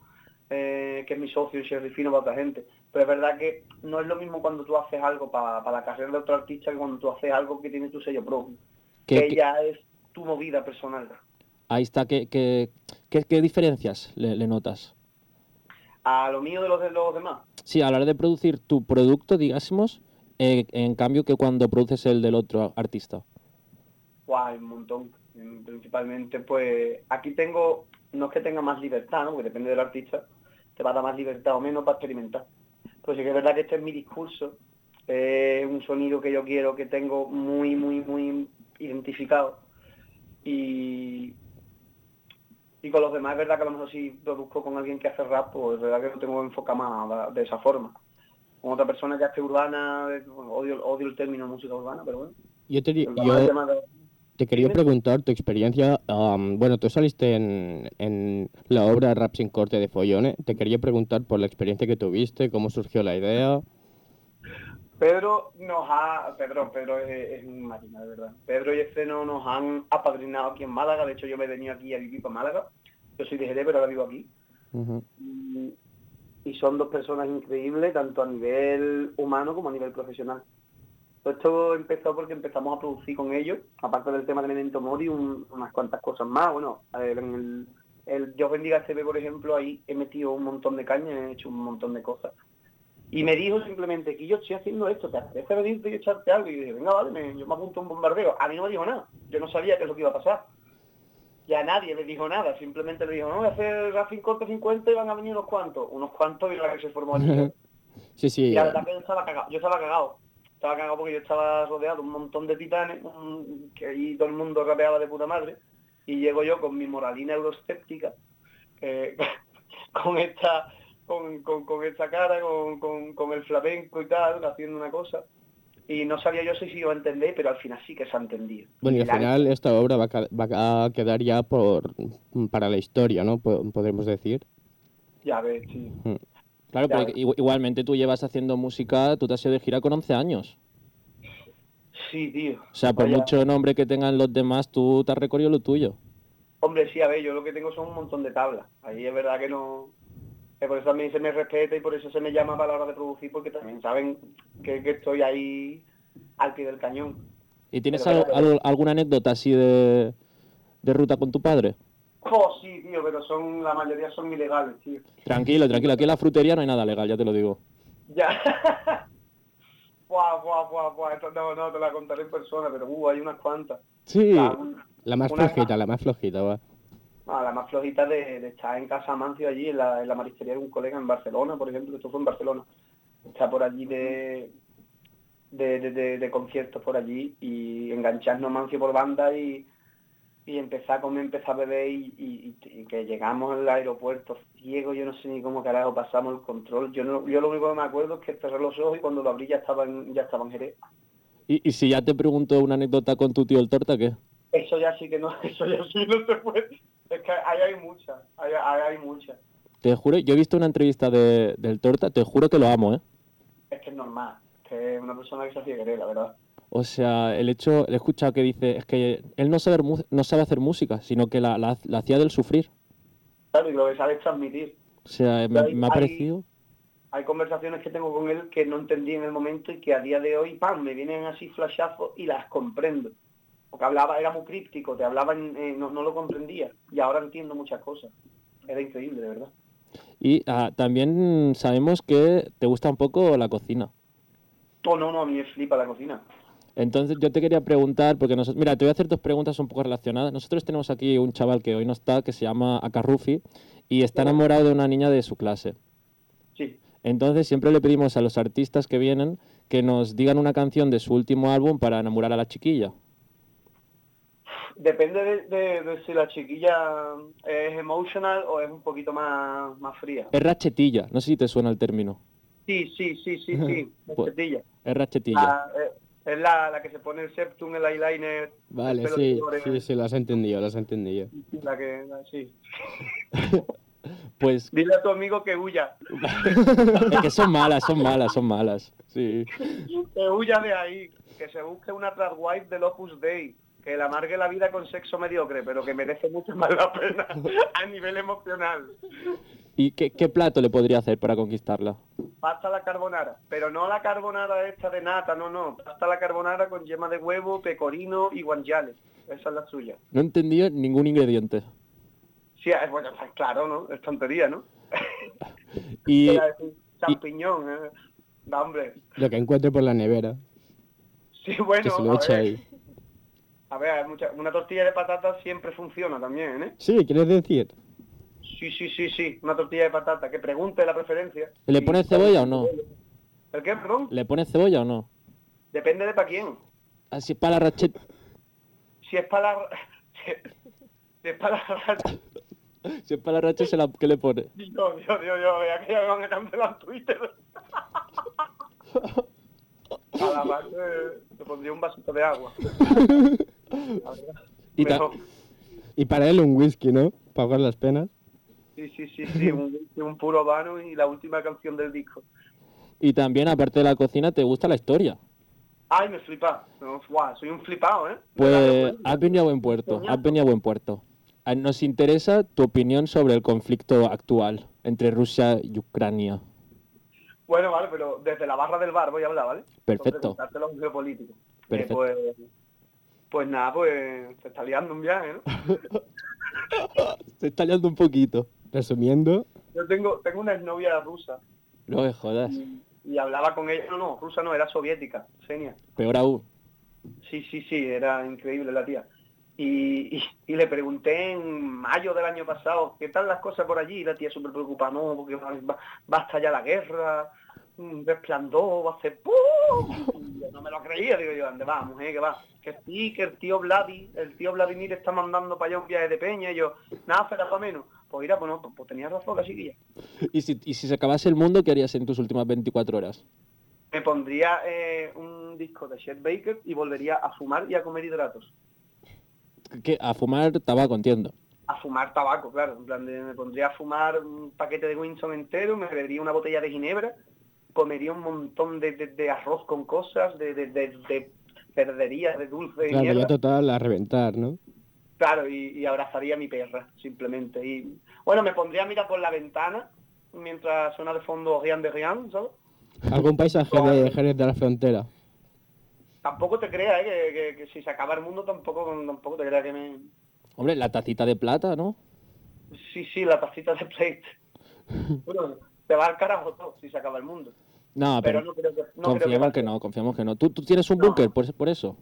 [SPEAKER 3] eh, que es mi socio, y Sherry Fino para otra gente. Pero es verdad que no es lo mismo cuando tú haces algo para la carrera de otro artista que cuando tú haces algo que tiene tu sello propio.
[SPEAKER 1] ¿Qué-
[SPEAKER 3] que
[SPEAKER 1] qué-
[SPEAKER 3] ya es tu movida personal.
[SPEAKER 1] Ahí está, ¿qué, qué, qué- qué diferencias le, le notas?
[SPEAKER 3] A lo mío de los de los demás.
[SPEAKER 1] Sí, a la hora de producir tu producto, digásemos, eh, en cambio que cuando produces el del otro artista.
[SPEAKER 3] Guau, un montón. Mm, Principalmente, pues aquí tengo, no es que tenga más libertad, ¿no? porque depende del artista, te va a dar más libertad o menos para experimentar. Pero sí que es verdad que este es mi discurso, eh, un sonido que yo quiero, que tengo muy, muy, muy identificado. Y, y con los demás es verdad que a lo mejor si produzco con alguien que hace rap, pues es verdad que no tengo enfoca más a- de esa forma. Con otra persona que hace urbana, eh, bueno, odio, odio el término música urbana, pero bueno.
[SPEAKER 2] Yo te, di-
[SPEAKER 3] el
[SPEAKER 2] yo
[SPEAKER 3] tema de-
[SPEAKER 2] te quería preguntar tu experiencia. am, bueno, tú saliste en, en la obra Rap sin corte de Follone. Te quería preguntar por la experiencia que tuviste, cómo surgió la idea.
[SPEAKER 3] Pedro nos ha, Pedro, Pedro es, es un máquina, de verdad. Pedro y Esceno nos han apadrinado aquí en Málaga, de hecho yo me he venido aquí a vivir para Málaga. Yo soy de Jerez, pero ahora vivo aquí. Y, y son dos personas increíbles, tanto a nivel humano como a nivel profesional. Todo esto empezó porque empezamos a producir con ellos, aparte del tema de Memento Mori, un- unas cuantas cosas más. Bueno, a ver, en el, el Dios bendiga este por ejemplo, ahí he metido un montón de caña, he hecho un montón de cosas. Y me dijo simplemente que yo estoy haciendo esto, ¿te apetece venirte y echarte algo? Y yo dije, venga, vale, me- yo me apunto a un bombardeo. A mí no me dijo nada, yo no sabía qué es lo que iba a pasar. Y a nadie le dijo nada, simplemente le dijo, no, voy a hacer Racing Corte 50 y van a venir unos cuantos. Unos cuantos y la que se formó allí.
[SPEAKER 2] sí, sí.
[SPEAKER 3] Y la verdad que yo estaba cagado, yo estaba cagado. Estaba cagado porque yo estaba rodeado de un montón de titanes, un- que ahí todo el mundo rapeaba de puta madre. y llego yo con mi moralina euroscéptica, eh, con esta con, con- con esta cara, con, con- con el flamenco y tal, haciendo una cosa. Y no sabía yo si se iba a entender, pero al final sí que se ha entendido.
[SPEAKER 2] Bueno, y al
[SPEAKER 3] La-
[SPEAKER 2] final esta obra va a, ca- va a quedar ya por, para la historia, ¿no? Po- Podremos decir.
[SPEAKER 3] Ya ves, sí.
[SPEAKER 2] Mm.
[SPEAKER 1] Claro,
[SPEAKER 3] Claro.
[SPEAKER 1] pero igu- igualmente tú llevas haciendo música, tú te has ido de gira con 11 años.
[SPEAKER 3] Sí, tío.
[SPEAKER 1] O sea, por
[SPEAKER 3] Vaya.
[SPEAKER 1] mucho nombre que tengan los demás, tú te has recorrido lo tuyo.
[SPEAKER 3] Hombre, sí, a ver, yo lo que tengo son un montón de tablas. Ahí es verdad que no... que por eso también se me respeta y por eso se me llama para la hora de producir, porque también saben que, que estoy ahí al pie del cañón.
[SPEAKER 1] ¿Y tienes
[SPEAKER 3] Pero-
[SPEAKER 1] al- al- alguna anécdota así de, de ruta con tu padre?
[SPEAKER 3] Oh, sí, tío, pero son la mayoría son ilegales, tío.
[SPEAKER 1] Tranquilo, tranquilo, aquí en la frutería no hay nada legal, ya te lo digo.
[SPEAKER 3] Ya. Buah, buah, buah, buah. Esto no, no, te la contaré en persona, pero uh, hay unas cuantas.
[SPEAKER 2] Sí.
[SPEAKER 3] La,
[SPEAKER 2] La más
[SPEAKER 3] Una-
[SPEAKER 2] flojita, la más flojita, va.
[SPEAKER 3] ah, la más flojita de, de estar en casa Mancio allí, en la, en la marisquería de un colega en Barcelona, por ejemplo, esto fue en Barcelona. Está por allí de, de, de- de- de conciertos por allí y engancharnos Mancio por banda y, y empezar a comer, empezar a beber y, y- y- y que llegamos al aeropuerto ciego, yo no sé ni cómo carajo pasamos el control. Yo no, yo lo único que me acuerdo es que cerré los ojos y cuando lo abrí ya estaba en, ya estaba en Jerez.
[SPEAKER 1] ¿Y, y si ya te pregunto una anécdota con tu tío el torta, ¿qué?
[SPEAKER 3] Eso ya sí que no, eso ya sí no se puede. Es que ahí hay muchas, ahí, ahí hay muchas.
[SPEAKER 1] Te juro, yo he visto una entrevista de, del torta, te juro que lo amo, ¿eh?
[SPEAKER 3] Es que es normal, que es una persona que se hace querer, la verdad.
[SPEAKER 1] O sea, el hecho, he escuchado que dice, es que él no sabe, mu- no sabe hacer música, sino que la, la- la hacía del sufrir.
[SPEAKER 3] Claro, y lo que sabe es transmitir.
[SPEAKER 1] O sea, me,
[SPEAKER 3] Ahí-
[SPEAKER 1] me ha
[SPEAKER 3] ahí-
[SPEAKER 1] parecido...
[SPEAKER 3] Hay conversaciones que tengo con él que no entendí en el momento y que a día de hoy, ¡pam!, me vienen así flashazos y las comprendo. Porque hablaba, era muy críptico, te hablaba, en- eh, no, no lo comprendía. Y ahora entiendo muchas cosas. Era increíble, de verdad.
[SPEAKER 1] Y ah, también sabemos que te gusta un poco la cocina.
[SPEAKER 3] Oh, no, no, a mí me flipa la cocina.
[SPEAKER 1] Entonces yo te quería preguntar, porque nosotros, mira, te voy a hacer dos preguntas un poco relacionadas. Nosotros tenemos aquí un chaval que hoy no está, que se llama Akarrufi, y está enamorado de una niña de su clase.
[SPEAKER 3] Sí.
[SPEAKER 1] Entonces siempre le pedimos a los artistas que vienen que nos digan una canción de su último álbum para enamorar a la chiquilla.
[SPEAKER 3] Depende de, de- de si la chiquilla es emotional o es un poquito más, más fría.
[SPEAKER 1] Es rachetilla, no sé si te suena el término.
[SPEAKER 3] Sí, sí, sí, sí, sí.
[SPEAKER 1] Pues-
[SPEAKER 3] Chetilla.
[SPEAKER 1] Es rachetilla.
[SPEAKER 3] Ah, eh, es la, la que se pone el septum, el eyeliner.
[SPEAKER 2] Vale,
[SPEAKER 3] el pelo
[SPEAKER 2] sí,
[SPEAKER 3] de
[SPEAKER 2] sí,
[SPEAKER 3] colores,
[SPEAKER 2] sí, lo has entendido, lo has entendido.
[SPEAKER 3] La que, la- sí.
[SPEAKER 1] Pues
[SPEAKER 3] Dile a tu amigo que huya.
[SPEAKER 1] es que son malas, son malas, son malas. Sí.
[SPEAKER 3] que huya de ahí. Que se busque una tradwife del Opus Dei. Que le amargue la vida con sexo mediocre, pero que merece mucho más la pena a nivel emocional.
[SPEAKER 1] ¿Y qué, qué plato le podría hacer para conquistarla?
[SPEAKER 3] Pasta a la carbonara, pero no la carbonara esta de nata, no, no. Pasta a la carbonara con yema de huevo, pecorino y guanciale. Esa es la suya.
[SPEAKER 1] No entendía ningún ingrediente.
[SPEAKER 3] Sí, eh, bueno, pues claro, ¿no? Es tontería, ¿no?
[SPEAKER 1] Y
[SPEAKER 3] Era decir, champiñón, eh. Da, hombre.
[SPEAKER 2] Lo que encuentre por la nevera,
[SPEAKER 3] Sí,
[SPEAKER 2] que
[SPEAKER 3] bueno,
[SPEAKER 2] se lo
[SPEAKER 3] a
[SPEAKER 2] eche
[SPEAKER 3] ver,
[SPEAKER 2] ahí.
[SPEAKER 3] a ver, hay mucha- una tortilla de patata siempre funciona también, ¿eh?
[SPEAKER 2] Sí, ¿quieres decir?
[SPEAKER 3] Sí, sí, sí, sí, una tortilla de patata, que pregunte la preferencia.
[SPEAKER 1] ¿Le
[SPEAKER 3] Sí.
[SPEAKER 1] pones cebolla o no?
[SPEAKER 3] ¿El qué, perdón?
[SPEAKER 1] ¿Le pones cebolla o no?
[SPEAKER 3] Depende de para quién.
[SPEAKER 1] Así para la racheta.
[SPEAKER 3] Si es para la... Si es para la...
[SPEAKER 1] Si es para la racheta, se la- ¿qué le pone?
[SPEAKER 3] Dios, Dios, Dios, Dios, vea que ya me van a cancelar Twitter. A la parte le pondría un vasito de agua. La verdad.
[SPEAKER 2] Y, ta-
[SPEAKER 3] Mejor.
[SPEAKER 2] y para él un whisky, ¿no? Para ahogar las penas.
[SPEAKER 3] Sí, sí, sí, sí, un, un puro vano y la última canción del disco.
[SPEAKER 1] Y también, aparte de la cocina, ¿te gusta la historia?
[SPEAKER 3] Ay, me flipa. No, guau, soy un flipado, ¿eh?
[SPEAKER 1] Pues has venido a buen puerto, has venido a buen puerto. A- Nos interesa tu opinión sobre el conflicto actual entre Rusia y Ucrania.
[SPEAKER 3] Bueno, vale, pero desde la barra del bar voy a hablar, ¿vale?
[SPEAKER 1] Perfecto.
[SPEAKER 3] Por preguntarte lo geopolítico. Eh,
[SPEAKER 1] Perfecto.
[SPEAKER 3] pues, pues nada, pues se está liando un viaje, ¿no?
[SPEAKER 1] Se está liando un poquito.
[SPEAKER 2] Resumiendo,
[SPEAKER 3] Yo tengo, tengo una exnovia rusa
[SPEAKER 1] No me jodas.
[SPEAKER 3] y hablaba con ella, no, no, rusa no, era soviética, Xenia.
[SPEAKER 1] Peor aún.
[SPEAKER 3] Sí, sí, sí, era increíble la tía. Y, y- y le pregunté en mayo del año pasado, ¿qué tal las cosas por allí? Y la tía súper preocupada, no, porque va, va- va a estallar la guerra, mm, resplandor, va a hacer ¡pum! Y yo, no me lo creía, digo yo, ande va, mujer, que va. Que sí, que el tío Vladi, el tío Vladimir está mandando para allá un viaje de peña, y yo, nada, será para menos. Pues mira, pues no, pues, pues tenía razón la chiquilla.
[SPEAKER 1] ¿Y si, y si se acabase el mundo, ¿qué harías en tus últimas 24 horas?
[SPEAKER 3] Me pondría eh, un disco de Chet Baker y volvería a fumar y a comer hidratos.
[SPEAKER 1] ¿Qué? A fumar tabaco, entiendo.
[SPEAKER 3] A fumar tabaco, claro. En plan, de- me pondría a fumar un paquete de Winston entero, me bebería una botella de ginebra, comería un montón de, de- de arroz con cosas, de, de, de, de perderías, de dulce de
[SPEAKER 2] Claro,
[SPEAKER 3] mierda.
[SPEAKER 2] ya total, a reventar, ¿no?
[SPEAKER 3] Claro, y, y abrazaría a mi perra, simplemente. Y bueno, me pondría a mirar por la ventana mientras suena de fondo Rian de Rian, ¿sabes?
[SPEAKER 2] Algún paisaje de Jerez de la Frontera.
[SPEAKER 3] Tampoco te creas, ¿eh? que, que- que si se acaba el mundo tampoco, tampoco te creas que me...
[SPEAKER 1] Hombre, la tacita de plata, ¿no?
[SPEAKER 3] Sí, sí, la tacita de plate. Bueno, te va al carajo todo si se acaba el mundo.
[SPEAKER 1] No, Ah, pero,
[SPEAKER 3] Pero no creo que- no creo que
[SPEAKER 1] confiamos que, no, confiamos que no. ¿Tú, tú tienes un búnker por, por eso?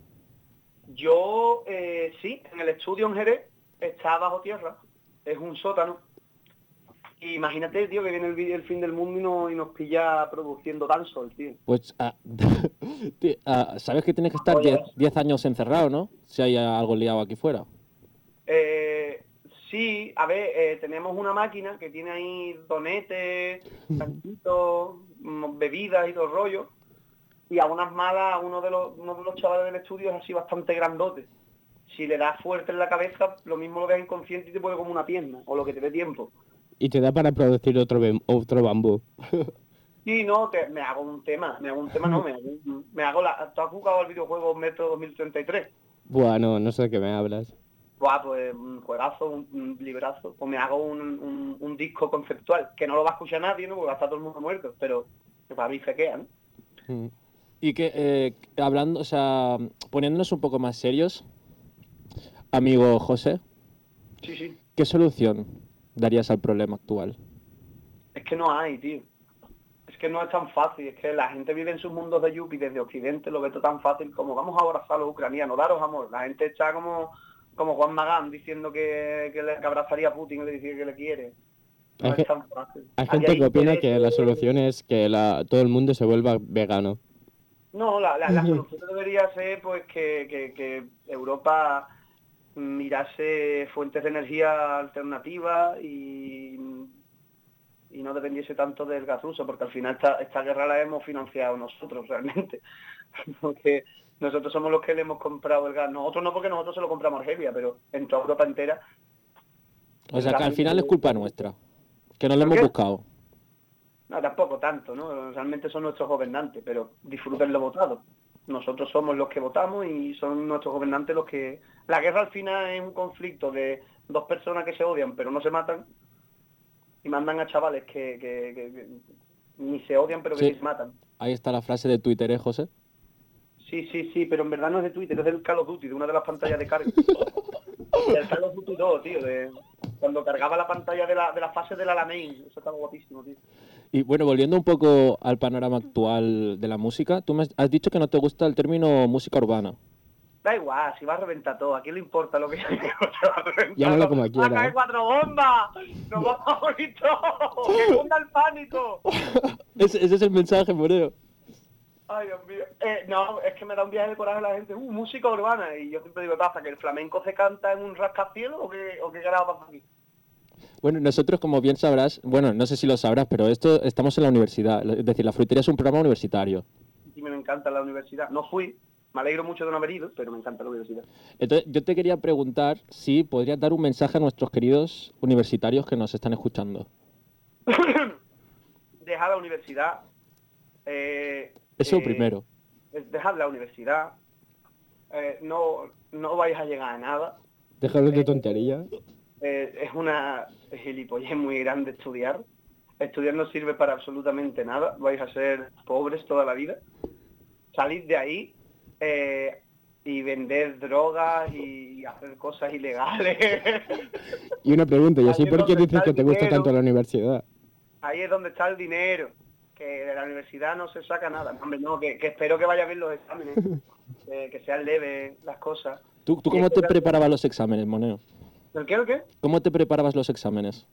[SPEAKER 3] Yo, eh, sí, en el estudio en Jerez está bajo tierra, es un sótano. Y Imagínate, tío, que viene el, vi- el fin del mundo y, no- y nos pilla produciendo dancehall, tío.
[SPEAKER 1] Pues ah, ti- ah, sabes que tienes que estar
[SPEAKER 3] Oye.
[SPEAKER 1] 10 años encerrado, ¿no? Si hay algo liado aquí fuera.
[SPEAKER 3] Eh, sí, a ver, eh, tenemos una máquina que tiene ahí donetes, tantitos, mm, bebidas y dos rollos. Y a unas malas, uno de los, uno de los chavales del estudio es así bastante grandote. Si le das fuerte en la cabeza, lo mismo lo ves inconsciente y te pone como una pierna, o lo que te dé tiempo.
[SPEAKER 2] Y te da para producir otro, bem- otro bambú.
[SPEAKER 3] Sí, no, te- me hago un tema, me hago un tema, no, me hago, un- me hago la... ¿Tú has jugado al videojuego Metro 2033?
[SPEAKER 2] Bueno, no sé de qué me hablas.
[SPEAKER 3] Buah, pues un juegazo, un, un librazo. O me hago un, un- un disco conceptual, que no lo va a escuchar nadie, ¿no? Porque va a estar todo el mundo muerto, pero para mí se queda, ¿no?
[SPEAKER 1] Y que, eh, hablando, o sea, poniéndonos un poco más serios, amigo José,
[SPEAKER 3] Sí, sí.
[SPEAKER 1] ¿qué solución darías al problema actual?
[SPEAKER 3] Es que no hay, tío. Es que no es tan fácil, es que la gente vive en sus mundos de yuppie desde Occidente, lo ve todo tan fácil como vamos a abrazar a los ucranianos, daros amor. La gente está como, como Juan Magán diciendo que, que, le, que abrazaría a Putin y le dice que le quiere. No
[SPEAKER 2] Hay
[SPEAKER 3] es
[SPEAKER 2] ge-
[SPEAKER 3] tan fácil.
[SPEAKER 2] Hay
[SPEAKER 3] Aquí
[SPEAKER 2] gente que opina
[SPEAKER 3] interés-
[SPEAKER 2] que la solución es que la, todo el mundo se vuelva vegano.
[SPEAKER 3] No, la, la, la solución debería ser pues que, que- que Europa mirase fuentes de energía alternativas y, y no dependiese tanto del gas ruso, porque al final esta, esta guerra la hemos financiado nosotros realmente. Porque nosotros somos los que le hemos comprado el gas. Nosotros no porque nosotros se lo compramos a Argelia, pero en toda Europa entera.
[SPEAKER 1] O sea, que al final es culpa nuestra, que no lo
[SPEAKER 3] ¿Por
[SPEAKER 1] hemos
[SPEAKER 3] qué?
[SPEAKER 1] buscado.
[SPEAKER 3] No, tampoco tanto, ¿no? Realmente son nuestros gobernantes, pero disfruten lo votado. Nosotros somos los que votamos y son nuestros gobernantes los que... La guerra al final es un conflicto de dos personas que se odian pero no se matan y mandan a chavales que, que- que- que ni se odian pero que
[SPEAKER 1] Sí.
[SPEAKER 3] sí se matan.
[SPEAKER 1] Ahí está la frase de Twitter, ¿eh, José?
[SPEAKER 3] Sí, sí, sí, pero en verdad no es de Twitter, es del Call of Duty, de una de las pantallas de carga. del Call of Duty 2, tío, de... Cuando cargaba la pantalla de la, de la fase de la Alamein, eso estaba guapísimo, tío.
[SPEAKER 1] Y bueno, volviendo un poco al panorama actual de la música, tú me has- has dicho que no te gusta el término música urbana.
[SPEAKER 3] Da igual, si va a reventar todo, ¿a quién le importa lo que se va a reventar?
[SPEAKER 1] Llámalo como quiera,
[SPEAKER 3] Acá hay
[SPEAKER 1] ¿eh?
[SPEAKER 3] cuatro bombas! ¡Nos vamos a morir todos! ¡Que cunda el pánico!
[SPEAKER 1] Ese, ese es el mensaje, Moreo.
[SPEAKER 3] Ay, Dios mío. Eh, no, es que me da un viaje de coraje la gente. ¡Uh, música urbana! Y yo siempre digo, ¿pasa que el flamenco se canta en un rascacielos o qué, o qué carajo pasa aquí?
[SPEAKER 1] Bueno, nosotros, como bien sabrás, bueno, no sé si lo sabrás, pero esto estamos en la universidad. Es decir, la frutería es un programa universitario.
[SPEAKER 3] Y me encanta la universidad. No fui, me alegro mucho de no haber ido, pero me encanta la universidad.
[SPEAKER 1] Entonces, yo te quería preguntar si podrías dar un mensaje a nuestros queridos universitarios que nos están escuchando.
[SPEAKER 3] Dejar la universidad. Eh,
[SPEAKER 1] Eso
[SPEAKER 3] eh,
[SPEAKER 1] primero.
[SPEAKER 3] Dejad la universidad. eh, no, no vais a llegar a nada.
[SPEAKER 2] Déjalo de tontería.
[SPEAKER 3] Eh, es una gilipollez muy grande estudiar. Estudiar no sirve para absolutamente nada. Vais a ser pobres toda la vida. Salid de ahí eh, y vender drogas y hacer cosas ilegales.
[SPEAKER 2] Y una pregunta, ¿y así
[SPEAKER 3] Alguien
[SPEAKER 2] por qué
[SPEAKER 3] donde
[SPEAKER 2] dices
[SPEAKER 3] está
[SPEAKER 2] que
[SPEAKER 3] el
[SPEAKER 2] te gusta
[SPEAKER 3] dinero.
[SPEAKER 2] tanto la universidad?
[SPEAKER 3] ahí es donde está el dinero. Que de la universidad no se saca nada. No, Hombre, no, que, que espero que vaya bien los exámenes. eh, que sean leves las cosas.
[SPEAKER 1] ¿Tú, tú cómo te preparabas los exámenes, Moneo?
[SPEAKER 3] ¿El qué, el qué?
[SPEAKER 1] ¿Cómo te preparabas los exámenes?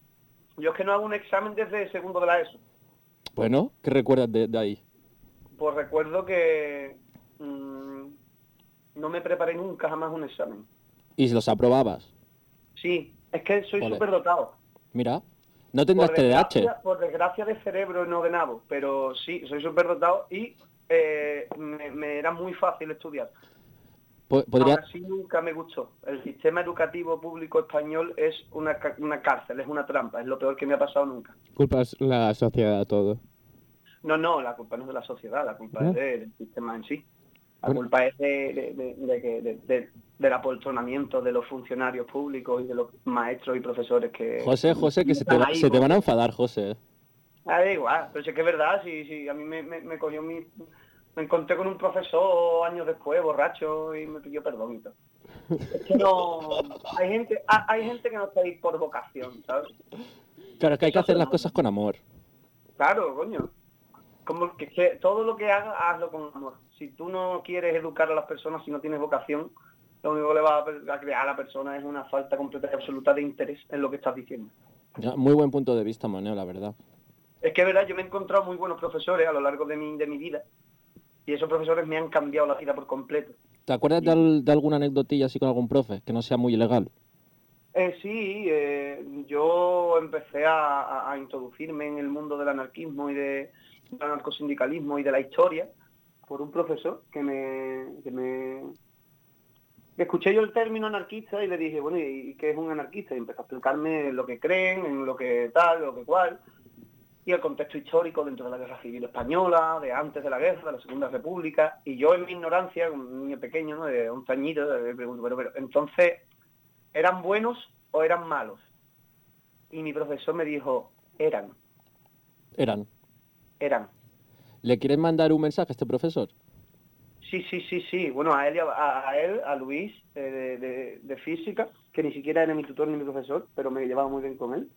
[SPEAKER 3] Yo es que no hago un examen desde segundo de la ESO.
[SPEAKER 1] Bueno, ¿qué recuerdas de, de ahí?
[SPEAKER 3] Pues recuerdo que mm, mm, no me preparé nunca jamás un examen.
[SPEAKER 1] Y si los aprobabas.
[SPEAKER 3] Sí, es que soy
[SPEAKER 1] Ole.
[SPEAKER 3] súper dotado.
[SPEAKER 1] Mira, no este tendrás TDAH.
[SPEAKER 3] por desgracia de cerebro, no de nabo, pero sí, soy súper dotado y eh, me, me era muy fácil estudiar.
[SPEAKER 1] Po- podría-
[SPEAKER 3] Aún así nunca me gustó. El sistema educativo público español es una, ca- una cárcel, es una trampa, es lo peor que me ha pasado nunca.
[SPEAKER 2] Culpas la sociedad a todo.
[SPEAKER 3] No, no, la culpa no es de la sociedad, la culpa
[SPEAKER 2] ¿No?
[SPEAKER 3] es del sistema en sí. La
[SPEAKER 2] Bueno.
[SPEAKER 3] culpa es de, de- de- de que- de- de- del apoltronamiento de los funcionarios públicos y de los maestros y profesores que...
[SPEAKER 1] José, José, que se te,
[SPEAKER 3] están
[SPEAKER 1] va-
[SPEAKER 3] ahí,
[SPEAKER 1] se te
[SPEAKER 3] ¿no?
[SPEAKER 1] van a enfadar, José.
[SPEAKER 3] Ah, da igual, pero si es que es verdad, sí, sí, a mí me, me- me cogió mi... Me encontré con un profesor años después, borracho, y me pidió perdón y todo. Es que no... Hay gente, ha- hay gente que no está ahí por vocación, ¿sabes?
[SPEAKER 1] Claro, es que hay que hacer las cosas con amor.
[SPEAKER 3] Claro, coño. Como que, que todo lo que hagas, hazlo con amor. Si tú no quieres educar a las personas, si no tienes vocación, lo único que le va a, pe- a crear a la persona es una falta completa y absoluta de interés en lo que estás diciendo.
[SPEAKER 1] Ya, Muy buen punto de vista, Maneo, la verdad.
[SPEAKER 3] Es que es verdad, yo me he encontrado muy buenos profesores a lo largo de mi, de mi vida. Y esos profesores me han cambiado la vida por completo.
[SPEAKER 1] ¿Te acuerdas de, al- de alguna anecdotilla así con algún profe que no sea muy ilegal?
[SPEAKER 3] Eh, sí, eh, yo empecé a, a- a introducirme en el mundo del anarquismo y de, del anarcosindicalismo y de la historia por un profesor que me, que me- que escuché yo el término anarquista y le dije, bueno, ¿y y qué es un anarquista? Y empezó a explicarme lo que creen, en lo que tal, lo que cual, y el contexto histórico dentro de la Guerra Civil Española, de antes de la guerra, de la Segunda República, y yo en mi ignorancia, un niño pequeño, ¿no? de un tañito, le pregunto, pero, pero, entonces, ¿eran buenos o eran malos? Y mi profesor me dijo, eran,
[SPEAKER 1] Eran.
[SPEAKER 3] eran.
[SPEAKER 1] ¿Le quieres mandar un mensaje a este profesor?
[SPEAKER 3] Sí, sí, sí, sí. Bueno, a él, y a, a- a él, a Luis, eh, de, de- de física, que ni siquiera era mi tutor ni mi profesor, pero me llevaba muy bien con él.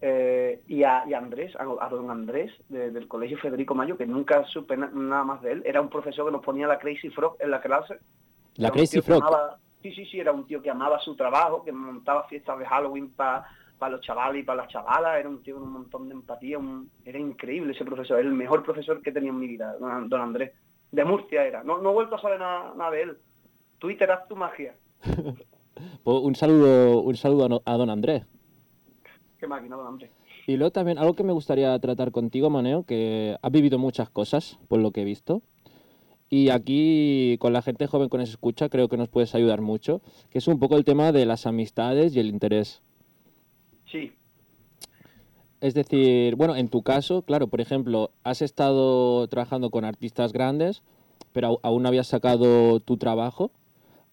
[SPEAKER 3] Eh, y, a, y a Andrés, a, a don Andrés, de- del colegio Federico Mayo, que nunca supe na- nada más de él. Era un profesor que nos ponía la Crazy Frog en la clase.
[SPEAKER 1] La
[SPEAKER 3] Era un
[SPEAKER 1] Crazy
[SPEAKER 3] tío que
[SPEAKER 1] Frog.
[SPEAKER 3] amaba- sí, sí, sí, era un tío que amaba su trabajo, que montaba fiestas de Halloween para los chavales y para las chavalas. Era un tío con un montón de empatía. un- era increíble ese profesor. El mejor profesor que tenía en mi vida, don, don Andrés. De Murcia era. No, no he vuelto a saber nada, nada de él. Twitter, haz tu magia.
[SPEAKER 1] Pues un saludo, un saludo a, no- a don Andrés.
[SPEAKER 3] Qué máquina, don Andrés.
[SPEAKER 1] Y luego también algo que me gustaría tratar contigo, Maneo, que has vivido muchas cosas, por lo que he visto. Y aquí, con la gente joven que nos escucha, creo que nos puedes ayudar mucho, que es un poco el tema de las amistades y el interés.
[SPEAKER 3] Sí.
[SPEAKER 1] Es decir, bueno, en tu caso, claro, por ejemplo, has estado trabajando con artistas grandes, pero au- aún no habías sacado tu trabajo.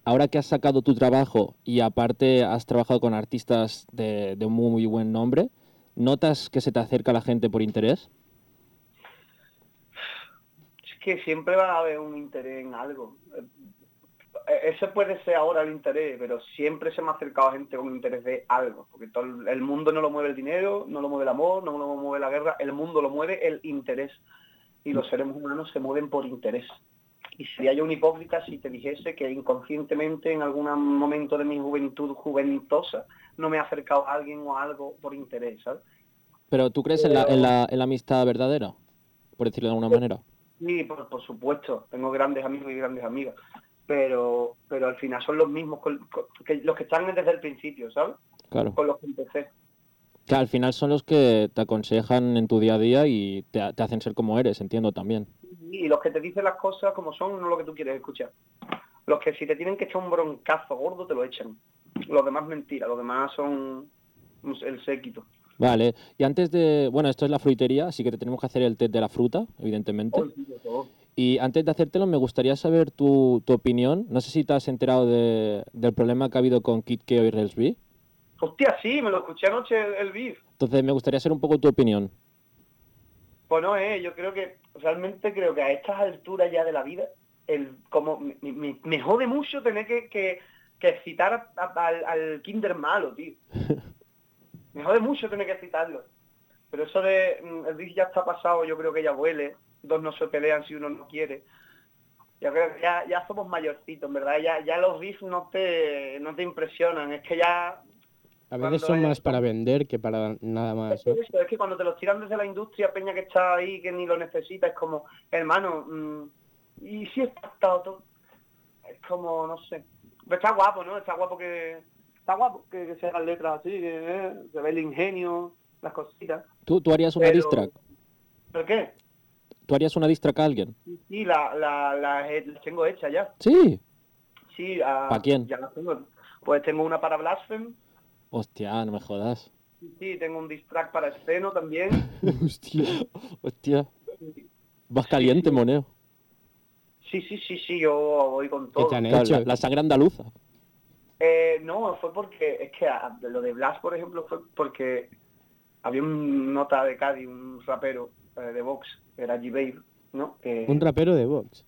[SPEAKER 1] Ahora que has sacado tu trabajo y aparte has trabajado con artistas de, de muy, muy buen nombre, ¿notas que se te acerca la gente por interés?
[SPEAKER 3] Es que siempre va a haber un interés en algo. Eh, Ese puede ser ahora el interés, pero siempre se me ha acercado gente con interés de algo. Porque todo el el mundo no lo mueve el dinero, no lo mueve el amor, no lo mueve la guerra. El mundo lo mueve el interés. Y los seres humanos se mueven por interés. Y sería yo un hipócrita si te dijese que inconscientemente en algún momento de mi juventud juventosa no me he acercado a alguien o a algo por interés, ¿sabes?
[SPEAKER 1] Pero tú crees en la, en la- en la amistad verdadera, por decirlo de alguna manera.
[SPEAKER 3] Sí, por, por supuesto, tengo grandes amigos y grandes amigas, pero pero al final son los mismos con- con- que los que están desde el principio, ¿sabes?
[SPEAKER 1] Claro.
[SPEAKER 3] Con los que empecé.
[SPEAKER 1] Que al final son los que te aconsejan en tu día a día y te, ha- te hacen ser como eres, entiendo también.
[SPEAKER 3] Y los que te dicen las cosas como son, no lo que tú quieres escuchar. Los que si te tienen que echar un broncazo gordo, te lo echan. Los demás mentira, los demás son el séquito.
[SPEAKER 1] Vale, y antes de, bueno, esto es la fruitería, así que te tenemos que hacer el test de la fruta, evidentemente. Y antes de hacértelo, me gustaría saber tu, tu opinión. No sé si te has enterado de- del problema que ha habido con Kid Keo y Relsby.
[SPEAKER 3] Hostia, sí, me lo escuché anoche el, el beef.
[SPEAKER 1] Entonces, me gustaría saber un poco tu opinión.
[SPEAKER 3] Pues no, eh, yo creo que, realmente creo que a estas alturas ya de la vida, el como me, me- me jode mucho tener que, que, que excitar a- a- al, al kinder malo, tío. Me jode mucho tener que excitarlo. Pero eso de mm, el beef ya está pasado, yo creo que ya huele, dos no se pelean si uno no quiere. Yo creo que ya, ya somos mayorcitos, en verdad, ya, ya los beef no te, no te impresionan, es que ya
[SPEAKER 2] A veces
[SPEAKER 3] Cuando
[SPEAKER 2] son
[SPEAKER 3] es-
[SPEAKER 2] más para vender que para nada
[SPEAKER 1] Ah,
[SPEAKER 2] más. ¿eh?
[SPEAKER 3] eso, es que cuando te los tiran desde la industria, Peña que está ahí, que ni lo necesita, es como, hermano, mm, Y sí está todo. Es como, no sé. Pero está guapo, ¿no? Está guapo que. Está guapo que, que se hagan letras así, que eh, se ve el ingenio, las cositas.
[SPEAKER 1] ¿Tú, tú harías una
[SPEAKER 3] Pero-
[SPEAKER 1] diss track?
[SPEAKER 3] ¿Pero qué?
[SPEAKER 1] ¿Tú harías una diss track a alguien?
[SPEAKER 3] Sí, la, la, la, he- las tengo hechas ya.
[SPEAKER 1] Sí.
[SPEAKER 3] Sí, ah,
[SPEAKER 1] ¿Pa' quién?
[SPEAKER 3] Ya las tengo. Pues tengo una para Blasphemy,
[SPEAKER 1] Hostia, no me jodas.
[SPEAKER 3] sí, tengo un distrack para Esceno también.
[SPEAKER 1] Hostia. Hostia. Vas caliente, moneo.
[SPEAKER 3] Sí, sí, sí, sí, yo voy con todo.
[SPEAKER 1] Claro, la, la sangre andaluza.
[SPEAKER 3] Eh, no, fue porque, es que a- lo de Blas, por ejemplo, fue porque había un nota de Cádiz, un rapero eh, de Vox, que era G-Babe, ¿no? Que-
[SPEAKER 2] Un rapero de Vox.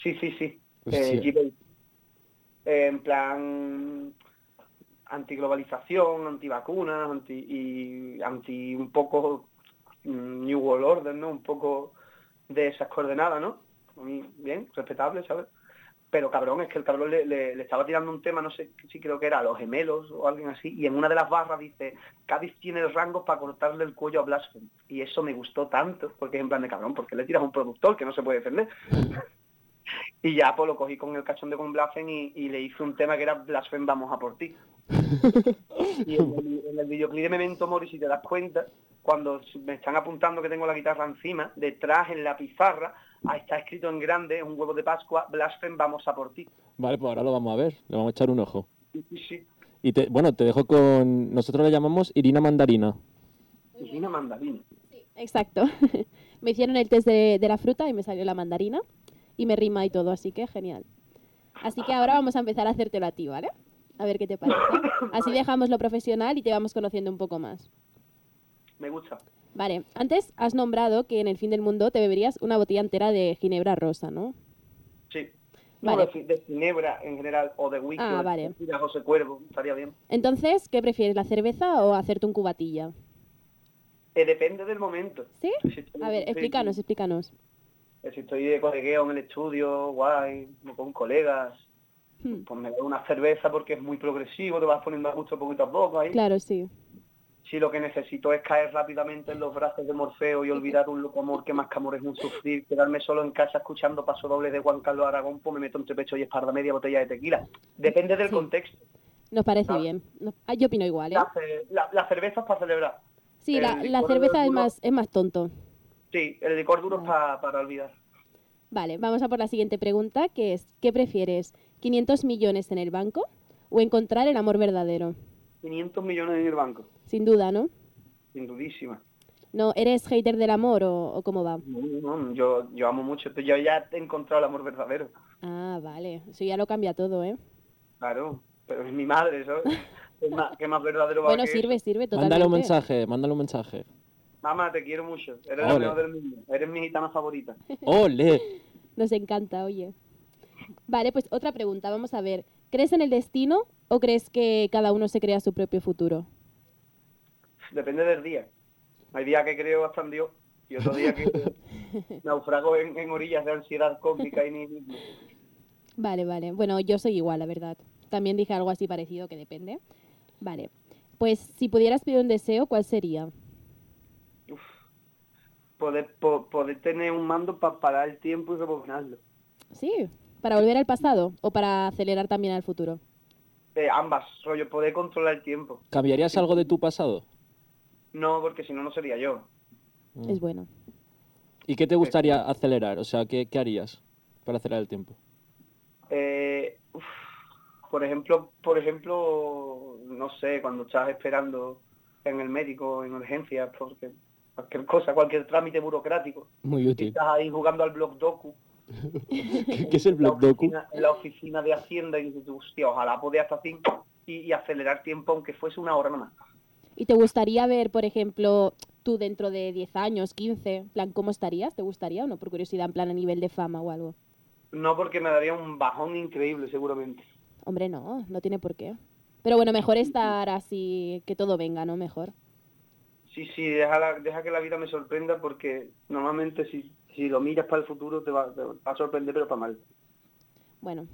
[SPEAKER 3] Sí, sí, sí.
[SPEAKER 2] Hostia.
[SPEAKER 3] Eh, G-Babe. Eh, en plan antiglobalización, antivacunas, anti y anti un poco mm, New World Order, ¿no? Un poco de esas coordenadas, ¿no? Muy bien, respetable, ¿sabes? Pero cabrón, es que el cabrón le, le- le estaba tirando un tema, no sé si creo que era a los gemelos o alguien así, y en una de las barras dice, Cádiz tiene el rango para cortarle el cuello a Blasphemy. Y eso me gustó tanto, porque es en plan de cabrón, porque le tiras a un productor que no se puede defender. y ya pues lo cogí con el cachón de con Blasphemy y, y le hice un tema que era Blasphemy vamos a por ti. y en el, en el videoclip de Memento Mori, si te das cuenta, cuando me están apuntando que tengo la guitarra encima, detrás en la pizarra, ah, está escrito en grande, un huevo de Pascua, Blasphemy vamos a por ti.
[SPEAKER 1] Vale, pues ahora lo vamos a ver. Le vamos a echar un ojo.
[SPEAKER 3] Sí, sí, sí.
[SPEAKER 1] Y te, bueno, te dejo con... Nosotros la llamamos Irina Mandarina.
[SPEAKER 3] Es una mandarina.
[SPEAKER 8] Exacto. me hicieron el test de, de la fruta y me salió la mandarina y me rima y todo, así que genial. Así que ahora vamos a empezar a hacértelo a ti, ¿vale? A ver qué te parece. Así dejamos lo profesional y te vamos conociendo un poco más.
[SPEAKER 3] Me gusta.
[SPEAKER 8] Vale, antes has nombrado que en el fin del mundo te beberías una botella entera de ginebra rosa, ¿no?
[SPEAKER 3] Sí.
[SPEAKER 8] Vale.
[SPEAKER 3] No, de, de Ginebra en general, o de Whisky,
[SPEAKER 8] Ah,
[SPEAKER 3] o de
[SPEAKER 8] vale.
[SPEAKER 3] tequila, José Cuervo, estaría bien.
[SPEAKER 8] Entonces, ¿qué prefieres, la cerveza o hacerte un cubatilla?
[SPEAKER 3] Eh, depende del momento.
[SPEAKER 8] ¿Sí? A ver,
[SPEAKER 3] Sí,
[SPEAKER 8] explícanos, explícanos.
[SPEAKER 3] Eh, Si estoy de colegueo en el estudio, guay, con colegas,
[SPEAKER 8] Hmm.
[SPEAKER 3] pues me da una cerveza porque es muy progresivo, te vas poniendo a gusto poquito a poco ahí.
[SPEAKER 8] Claro, sí.
[SPEAKER 3] Si lo que necesito es caer rápidamente en los brazos de Morfeo y olvidar un loco amor que más que amor es un sufrir, quedarme solo en casa escuchando paso doble de Juan Carlos Aragón, pues me meto entre pecho y espalda media botella de tequila. Depende del contexto.
[SPEAKER 8] Nos parece bien. Nos- ah, yo opino igual, ¿eh?
[SPEAKER 3] La, ce- la- la cerveza es para celebrar.
[SPEAKER 8] Sí,
[SPEAKER 3] Eh, el
[SPEAKER 8] la, la
[SPEAKER 3] licor
[SPEAKER 8] cerveza es
[SPEAKER 3] duro-
[SPEAKER 8] más, es más tonto.
[SPEAKER 3] Sí, el licor duro es pa- para olvidar.
[SPEAKER 8] Vale, vamos a por la siguiente pregunta, que es, ¿qué prefieres? ¿500 millones en el banco o encontrar el amor verdadero?
[SPEAKER 3] 500 millones en el banco,
[SPEAKER 8] Sin duda, ¿no?
[SPEAKER 3] sin dudísima.
[SPEAKER 8] No, ¿eres hater del amor o, o cómo va?
[SPEAKER 3] No, no, yo, yo amo mucho, pero yo ya he encontrado el amor verdadero,
[SPEAKER 8] Ah, vale. Eso ya lo cambia todo, ¿eh?
[SPEAKER 3] claro, pero es mi madre, ¿sabes? ¿Qué más, qué más verdadero va a
[SPEAKER 8] Bueno,
[SPEAKER 3] que eso?
[SPEAKER 8] sirve, sirve totalmente.
[SPEAKER 1] Mándale un mensaje, mándale un mensaje.
[SPEAKER 3] Mamá, te quiero mucho, eres
[SPEAKER 1] Ole.
[SPEAKER 3] la mejor del mundo, eres mi gitana favorita.
[SPEAKER 1] ¡Ole!
[SPEAKER 8] Nos encanta, oye. Vale, pues otra pregunta, vamos a ver. ¿Crees en el destino o crees que cada uno se crea su propio futuro?
[SPEAKER 3] Depende del día. Hay días que creo hasta en Dios y otro día que naufrago en, en orillas de ansiedad cósmica y nihilismo.
[SPEAKER 8] Vale, vale. Bueno, yo soy igual, la verdad. También dije algo así parecido que depende. Vale. Pues si pudieras pedir un deseo, ¿cuál sería?
[SPEAKER 3] Poder, po- poder tener un mando para parar el tiempo y rebobinarlo.
[SPEAKER 8] Sí, para volver al pasado o para acelerar también al futuro.
[SPEAKER 3] Eh, ambas, rollo, poder controlar el tiempo.
[SPEAKER 1] ¿Cambiarías algo de tu pasado? Mm.
[SPEAKER 3] No, porque si no, no sería yo.
[SPEAKER 12] Mm.
[SPEAKER 8] Es bueno.
[SPEAKER 1] ¿Y qué te gustaría acelerar? O sea, ¿qué, qué harías para acelerar el tiempo?
[SPEAKER 3] Eh, uf, por ejemplo, por ejemplo, no sé, cuando estás esperando en el médico, en urgencias, porque cualquier cosa, cualquier trámite burocrático,
[SPEAKER 2] Muy
[SPEAKER 3] y
[SPEAKER 2] útil.
[SPEAKER 3] estás ahí jugando al blog docu,
[SPEAKER 1] ¿Qué, qué es el Black Docu?
[SPEAKER 3] oficina- en la oficina de Hacienda, y dices, tú, hostia, ojalá podías hasta cinco y, y acelerar tiempo, aunque fuese una hora nomás.
[SPEAKER 8] ¿Y te gustaría ver, por ejemplo, tú dentro de 10 años, 15, en plan, cómo estarías? ¿Te gustaría o no? Por curiosidad, en plan, a nivel de fama o algo.
[SPEAKER 3] No porque me daría un bajón increíble, seguramente.
[SPEAKER 8] Hombre, no, no tiene por qué. Pero bueno, mejor estar así, que todo venga, ¿no? Mejor.
[SPEAKER 3] Sí, sí, deja, la- deja que la vida me sorprenda, porque normalmente si, si lo miras para el futuro te va, te va a sorprender, pero para mal.
[SPEAKER 8] Bueno,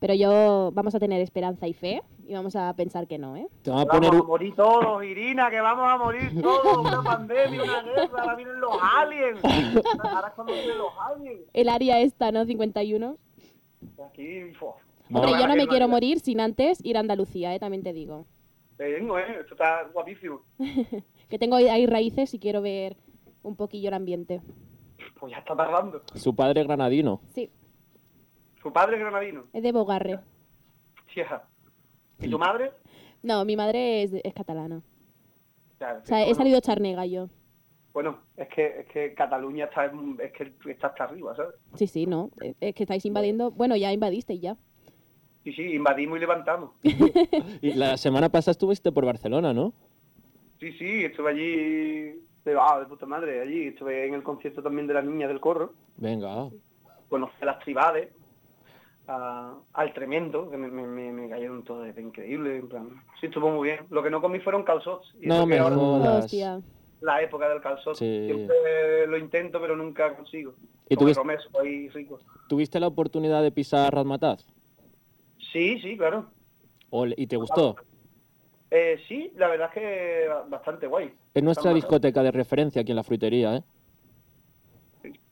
[SPEAKER 12] Pero yo vamos a tener esperanza y fe y vamos a pensar que no, ¿eh?
[SPEAKER 1] Te van a
[SPEAKER 3] Vamos
[SPEAKER 1] poner
[SPEAKER 3] a
[SPEAKER 1] un-
[SPEAKER 3] morir todos, Irina, que vamos a morir todos. Una pandemia, una guerra, ahora vienen los aliens. Ahora es cuando vienen los aliens.
[SPEAKER 12] El área esta, ¿no? 51.
[SPEAKER 3] Aquí, fo.
[SPEAKER 12] Hombre, yo no me
[SPEAKER 3] Qué
[SPEAKER 12] quiero
[SPEAKER 3] barbaridad.
[SPEAKER 12] morir sin antes ir a Andalucía, ¿eh? También te digo.
[SPEAKER 3] Te vengo, eh. Esto está guapísimo.
[SPEAKER 12] Que tengo ahí- ahí raíces y quiero ver un poquillo el ambiente.
[SPEAKER 3] Pues ya está tardando.
[SPEAKER 1] su padre granadino.
[SPEAKER 12] Sí,
[SPEAKER 3] Su padre es granadino.
[SPEAKER 12] es de Bogarre.
[SPEAKER 3] Tía. ¿Y tu madre?
[SPEAKER 12] No, mi madre es, es catalana.
[SPEAKER 3] Claro.
[SPEAKER 12] O sea, he salido charnega yo.
[SPEAKER 3] Bueno, es que, es que Cataluña está, en- es que está hasta arriba, ¿sabes?
[SPEAKER 12] Sí, sí, no. eh, Es que estáis invadiendo. Bueno, ya invadisteis ya.
[SPEAKER 3] Sí, sí, invadimos y levantamos.
[SPEAKER 1] Y la semana pasada estuviste por Barcelona, ¿no?
[SPEAKER 3] Sí, sí, estuve allí de, ah, de puta madre, allí estuve en el concierto también de las niñas del corro,
[SPEAKER 1] Venga.
[SPEAKER 3] conocí a las tribales, a- al tremendo, que me, me- me- me cayeron todo de increíble, en plan, sí, estuvo muy bien. Lo que no comí fueron calzots. y eso
[SPEAKER 1] No
[SPEAKER 3] que
[SPEAKER 1] me
[SPEAKER 3] ahora-
[SPEAKER 1] jodas.
[SPEAKER 3] La época del calzot,
[SPEAKER 1] Sí.
[SPEAKER 3] siempre lo intento pero nunca consigo.
[SPEAKER 1] ¿Y
[SPEAKER 3] Como
[SPEAKER 1] tuviste-
[SPEAKER 3] Romero, soy rico.
[SPEAKER 1] ¿Tuviste la oportunidad de pisar Razmataz?
[SPEAKER 3] Sí, sí, claro.
[SPEAKER 1] Ole, ¿Y te gustó?
[SPEAKER 3] Eh, sí, la verdad es que bastante guay.
[SPEAKER 1] Es nuestra
[SPEAKER 3] Está-
[SPEAKER 1] discoteca de referencia aquí en la fruitería, ¿eh?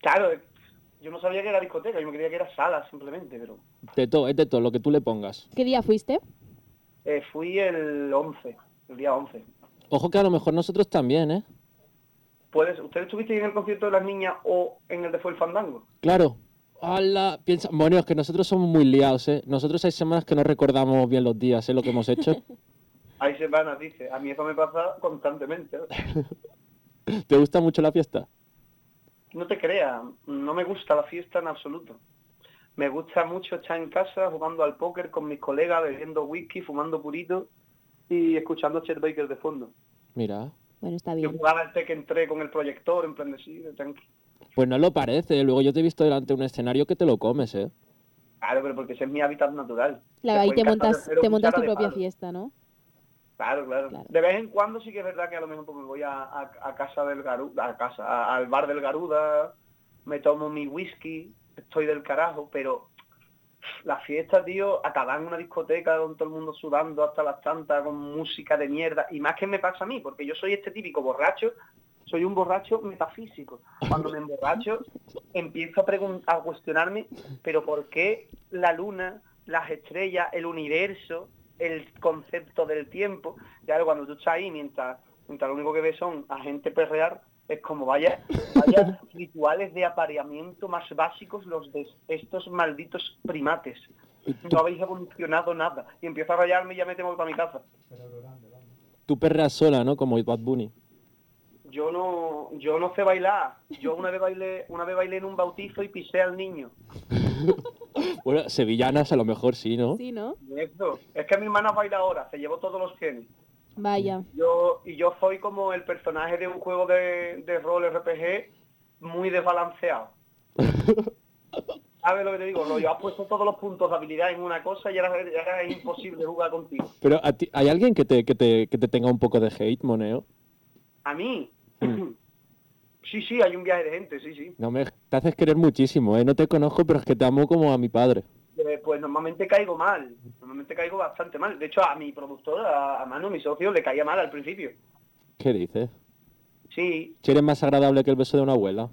[SPEAKER 3] Claro, eh, yo no sabía que era discoteca, yo me creía que era sala simplemente, pero
[SPEAKER 1] De todo, es de todo, lo que tú le pongas.
[SPEAKER 12] ¿Qué día fuiste?
[SPEAKER 3] eh, fui el 11, el día 11.
[SPEAKER 1] Ojo que a lo mejor nosotros también, ¿eh?
[SPEAKER 3] ¿Puedes, ¿Ustedes estuvisteis en el concierto de las niñas o en el de Fue el Fandango?
[SPEAKER 1] Claro. Hala, piensa, bueno, es que nosotros somos muy liados, ¿eh? Nosotros hay semanas que no recordamos bien los días, ¿eh? Lo que hemos hecho.
[SPEAKER 3] Ahí se van, dice. A mí eso me pasa constantemente.
[SPEAKER 1] ¿Te gusta mucho la fiesta?
[SPEAKER 3] No te creas, no me gusta la fiesta en absoluto. Me gusta mucho estar en casa jugando al póker con mis colegas, bebiendo whisky, fumando purito y escuchando a Chet Baker de fondo.
[SPEAKER 1] Mira.
[SPEAKER 12] Bueno, está
[SPEAKER 3] Yo jugaba al Tekken 3 con el proyector, en plan de sí, de tranqui.
[SPEAKER 1] Pues no lo parece. Luego yo te he visto delante de un escenario que te lo comes, ¿eh?
[SPEAKER 3] Claro, pero porque ese es mi hábitat natural.
[SPEAKER 12] Claro, ahí
[SPEAKER 3] Después
[SPEAKER 12] te
[SPEAKER 3] en casa
[SPEAKER 12] montas,
[SPEAKER 3] prefiero
[SPEAKER 12] te montas
[SPEAKER 3] cuchara
[SPEAKER 12] tu
[SPEAKER 3] de
[SPEAKER 12] propia
[SPEAKER 3] palo.
[SPEAKER 12] fiesta, ¿no?
[SPEAKER 3] Claro, claro, De vez en cuando sí que es verdad que a lo mejor pues, me voy a, a- a casa del Garuda, a casa, a- al bar del Garuda, me tomo mi whisky, estoy del carajo, pero las fiestas, tío, acaban en una discoteca con todo el mundo sudando hasta las tantas, con música de mierda, y más que me pasa a mí, porque yo soy este típico borracho, soy un borracho metafísico. Cuando me emborracho, empiezo a, pregun- a cuestionarme, pero ¿por qué la luna, las estrellas, el universo, el concepto del tiempo? Ya cuando tú estás ahí, mientras, mientras lo único que ves son a gente perrear, es como vaya, vaya rituales de apareamiento más básicos los de estos malditos primates. No habéis evolucionado nada. Y empiezo a rayarme y ya me tengo para mi casa.
[SPEAKER 1] Tú perreas sola, ¿no? Como Bad Bunny.
[SPEAKER 3] Yo no, yo no sé bailar. Yo una vez bailé, una vez bailé en un bautizo y pisé al niño.
[SPEAKER 1] Bueno, sevillanas a lo mejor sí, ¿no?
[SPEAKER 12] Sí, ¿no?
[SPEAKER 3] Eso. Es que mi hermana baila ahora, se llevó todos los genes.
[SPEAKER 12] Vaya.
[SPEAKER 3] Yo, y yo soy como el personaje de un juego de, de rol RPG muy desbalanceado. ¿Sabes lo que te digo? Rollo, has puesto todos los puntos de habilidad en una cosa y ahora, ahora es imposible jugar contigo.
[SPEAKER 1] Pero a ti- ¿hay alguien que te, que, te, que te tenga un poco de hate, Moneo?
[SPEAKER 3] A mí, sí, sí, hay un viaje de gente, sí, sí.
[SPEAKER 1] No me... Te haces querer muchísimo, ¿eh? No te conozco, pero es que te amo como a mi padre.
[SPEAKER 3] Eh, pues normalmente caigo mal, normalmente caigo bastante mal. De hecho, a mi productor, a, a Manu, mi socio, le caía mal al principio.
[SPEAKER 1] ¿Qué dices?
[SPEAKER 3] Sí,
[SPEAKER 1] Si eres más agradable que el beso de una abuela.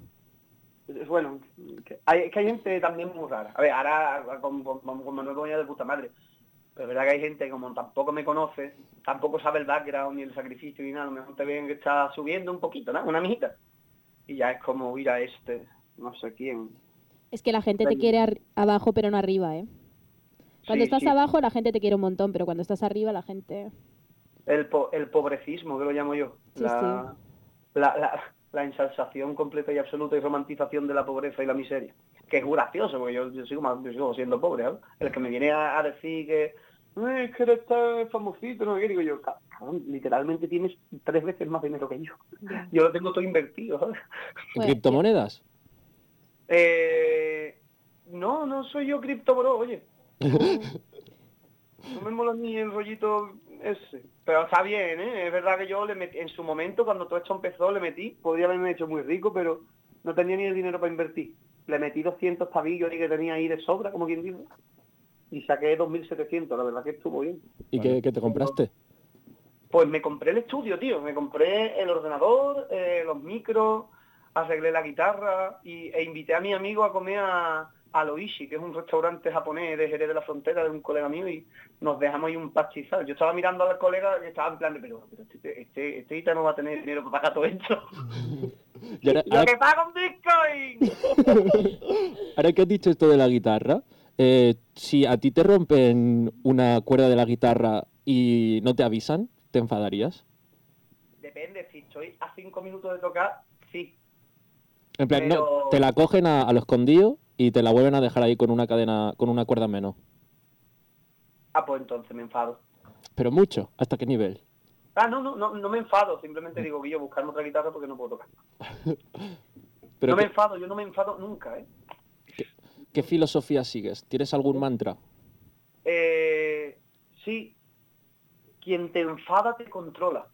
[SPEAKER 3] Bueno, que hay, es que hay gente también muy rara. A ver, ahora con, con, con Manuel Goña de puta madre. Pero es verdad que hay gente que como tampoco me conoce, tampoco sabe el background ni el sacrificio ni nada. A lo mejor te ven que está subiendo un poquito, ¿no? Una mijita. Y ya es como ir a este, no sé quién.
[SPEAKER 12] Es que la gente te
[SPEAKER 3] Venga.
[SPEAKER 12] quiere ar- abajo, pero no arriba, ¿eh? Cuando
[SPEAKER 3] Sí,
[SPEAKER 12] estás
[SPEAKER 3] sí.
[SPEAKER 12] abajo, la gente te quiere un montón, pero cuando estás arriba, la gente.
[SPEAKER 3] El, po- el pobrecismo, que lo llamo yo.
[SPEAKER 12] Sí,
[SPEAKER 3] la, La, la- la ensalzación completa y absoluta y romantización de la pobreza y la miseria. Que es gracioso, porque yo, yo sigo, más- yo sigo siendo pobre. ¿sabes? El que me viene a, a decir que "Ay, es que eres tan famosito, no sé qué", digo yo, "Ca- cabrón, literalmente tienes tres veces más dinero que yo. Yo lo tengo todo invertido. ¿sabes?
[SPEAKER 1] ¿En
[SPEAKER 3] Pues,
[SPEAKER 1] criptomonedas?
[SPEAKER 3] Eh, no, no soy yo cripto bro, oye. No me mola ni el rollito ese. Pero está bien, ¿eh? Es verdad que yo le metí, en su momento, cuando todo esto empezó, le metí. Podría haberme hecho muy rico, pero no tenía ni el dinero para invertir. Le metí 200 pavillos ahí que tenía ahí de sobra, como quien dice. y saqué 2.700, la verdad que estuvo bien.
[SPEAKER 1] ¿Y qué, qué te compraste?
[SPEAKER 3] Pues me compré el estudio, tío. Me compré el ordenador, eh, los micros, arreglé la guitarra y, e invité a mi amigo a comer a, a Loishi, que es un restaurante japonés de Jerez de la Frontera de un colega mío y nos dejamos ahí un pastizal. Yo estaba mirando al colega y estaba en plan de, pero, pero este, este, este gitano va a tener dinero para pagar todo esto.
[SPEAKER 1] Y ahora,
[SPEAKER 3] ¡Lo
[SPEAKER 1] ahora-
[SPEAKER 3] que paga un Bitcoin!
[SPEAKER 1] ahora que has dicho esto de la guitarra, eh, si a ti te rompen una cuerda de la guitarra y no te avisan, ¿te enfadarías?
[SPEAKER 3] Depende, si estoy a cinco minutos de tocar, sí.
[SPEAKER 1] En plan, no,
[SPEAKER 3] Pero-
[SPEAKER 1] te la cogen a, a lo escondido y te la vuelven a dejar ahí con una cadena, con una cuerda menos.
[SPEAKER 3] Ah, pues entonces me enfado.
[SPEAKER 1] Pero mucho, ¿hasta qué nivel?
[SPEAKER 3] Ah, no, no, no, no me enfado, simplemente digo que yo buscarme otra guitarra porque no puedo tocar.
[SPEAKER 1] Pero
[SPEAKER 3] no me
[SPEAKER 1] ¿qué,
[SPEAKER 3] enfado, yo no me enfado nunca, ¿eh?
[SPEAKER 1] qué filosofía sigues? ¿Tienes algún mantra?
[SPEAKER 3] Eh, sí, quien te enfada te controla.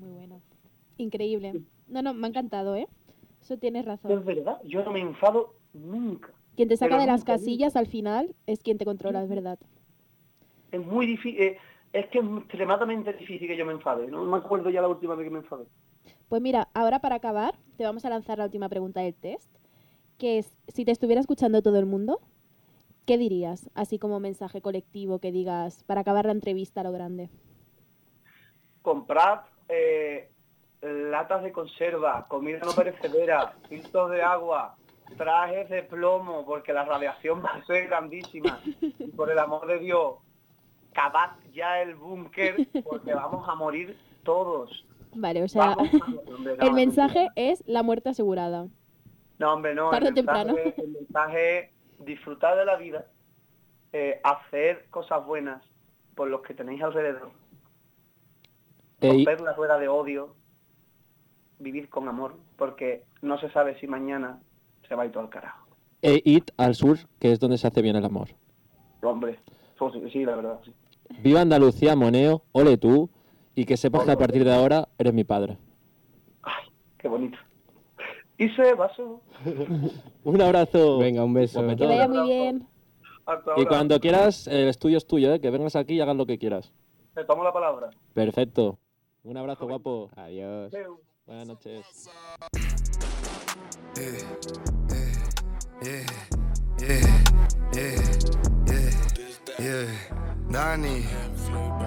[SPEAKER 12] Muy bueno. Increíble. No, no, me ha encantado, ¿eh? Eso tienes razón.
[SPEAKER 3] Es verdad, yo no me enfado nunca.
[SPEAKER 12] Quien te saca
[SPEAKER 3] Pero
[SPEAKER 12] de las
[SPEAKER 3] nunca,
[SPEAKER 12] casillas al final es quien te controla, es verdad.
[SPEAKER 3] Es muy difícil, es que es extremadamente difícil que yo me enfade. No me acuerdo ya la última vez que me enfadé.
[SPEAKER 12] Pues mira, ahora para acabar, te vamos a lanzar la última pregunta del test, que es, si te estuviera escuchando todo el mundo, ¿qué dirías? Así como mensaje colectivo que digas para acabar la entrevista a lo grande.
[SPEAKER 3] Comprad eh, latas de conserva, comida no perecedera, filtros de agua, trajes de plomo, porque la radiación va a ser grandísima. Y por el amor de Dios, cavad ya el búnker, porque vamos a morir todos.
[SPEAKER 12] Vale, o sea,
[SPEAKER 3] Vamos a morir, hombre, no,
[SPEAKER 12] el mensaje es la muerte asegurada.
[SPEAKER 3] No, hombre, no.
[SPEAKER 12] Tarde
[SPEAKER 3] el
[SPEAKER 12] o temprano.
[SPEAKER 3] mensaje- El mensaje es disfrutar de la vida, eh, hacer cosas buenas por los que tenéis alrededor,
[SPEAKER 1] Ey,
[SPEAKER 3] romper la rueda de odio, vivir con amor, porque no se sabe si mañana se va a ir todo al carajo.
[SPEAKER 1] e id al sur, que es donde se hace bien el amor.
[SPEAKER 3] Hombre, pues sí, sí, la verdad. sí.
[SPEAKER 1] Viva Andalucía, Moneo, ole tú, y que sepas que a partir de ahora eres mi padre.
[SPEAKER 3] Qué bonito. Y se basó.
[SPEAKER 1] Un
[SPEAKER 3] Oh,
[SPEAKER 1] abrazo.
[SPEAKER 2] Venga, un beso.
[SPEAKER 12] Que vaya muy bien.
[SPEAKER 3] Hasta
[SPEAKER 1] Y
[SPEAKER 3] ahora.
[SPEAKER 1] cuando quieras, el estudio es tuyo, ¿eh? que vengas aquí y hagas lo que quieras.
[SPEAKER 3] Te tomo la palabra.
[SPEAKER 1] Perfecto. Un abrazo, guapo.
[SPEAKER 2] Adiós.
[SPEAKER 1] Buenas noches.
[SPEAKER 4] Yeah, yeah, yeah, yeah, yeah. Eh, Dani,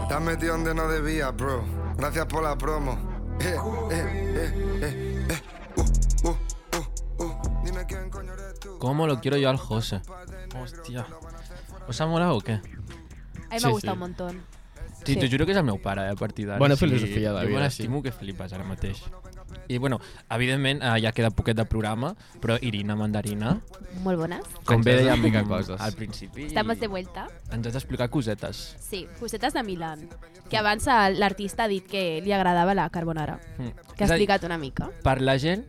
[SPEAKER 4] estás metido donde no debía, bro. Gracias por la promo. Eh, eh, eh, eh, eh. Uh, uh, uh, uh. Dime quién coño eres.
[SPEAKER 13] ¿Cómo lo quiero yo al José? Hostia. ¿Os ha molado o qué?
[SPEAKER 8] A mí
[SPEAKER 13] Sí,
[SPEAKER 8] m'ha gustat
[SPEAKER 13] sí.
[SPEAKER 8] un montón.
[SPEAKER 13] Sí, jo juro que és el meu pare, eh, a partir d'ara.
[SPEAKER 14] Bona
[SPEAKER 13] Sí,
[SPEAKER 14] filosofia de
[SPEAKER 13] Jo me
[SPEAKER 14] vida,
[SPEAKER 13] l'estimo que flipes ara mateix. I, bueno, evidentment, eh, ja queda poquet de programa, però Irina Mandarina,
[SPEAKER 8] Molt bones.
[SPEAKER 13] com bé
[SPEAKER 14] Ens has
[SPEAKER 13] dèiem
[SPEAKER 14] explicat coses.
[SPEAKER 13] al principi,
[SPEAKER 8] Estamos de vuelta.
[SPEAKER 13] ens has d'explicar cosetes.
[SPEAKER 8] Sí, cosetes de Milan. Que abans el- l'artista ha dit que li agradava la carbonara.
[SPEAKER 13] Mm.
[SPEAKER 8] Que ha
[SPEAKER 13] És a dir,
[SPEAKER 8] explicat una mica.
[SPEAKER 13] Per la gent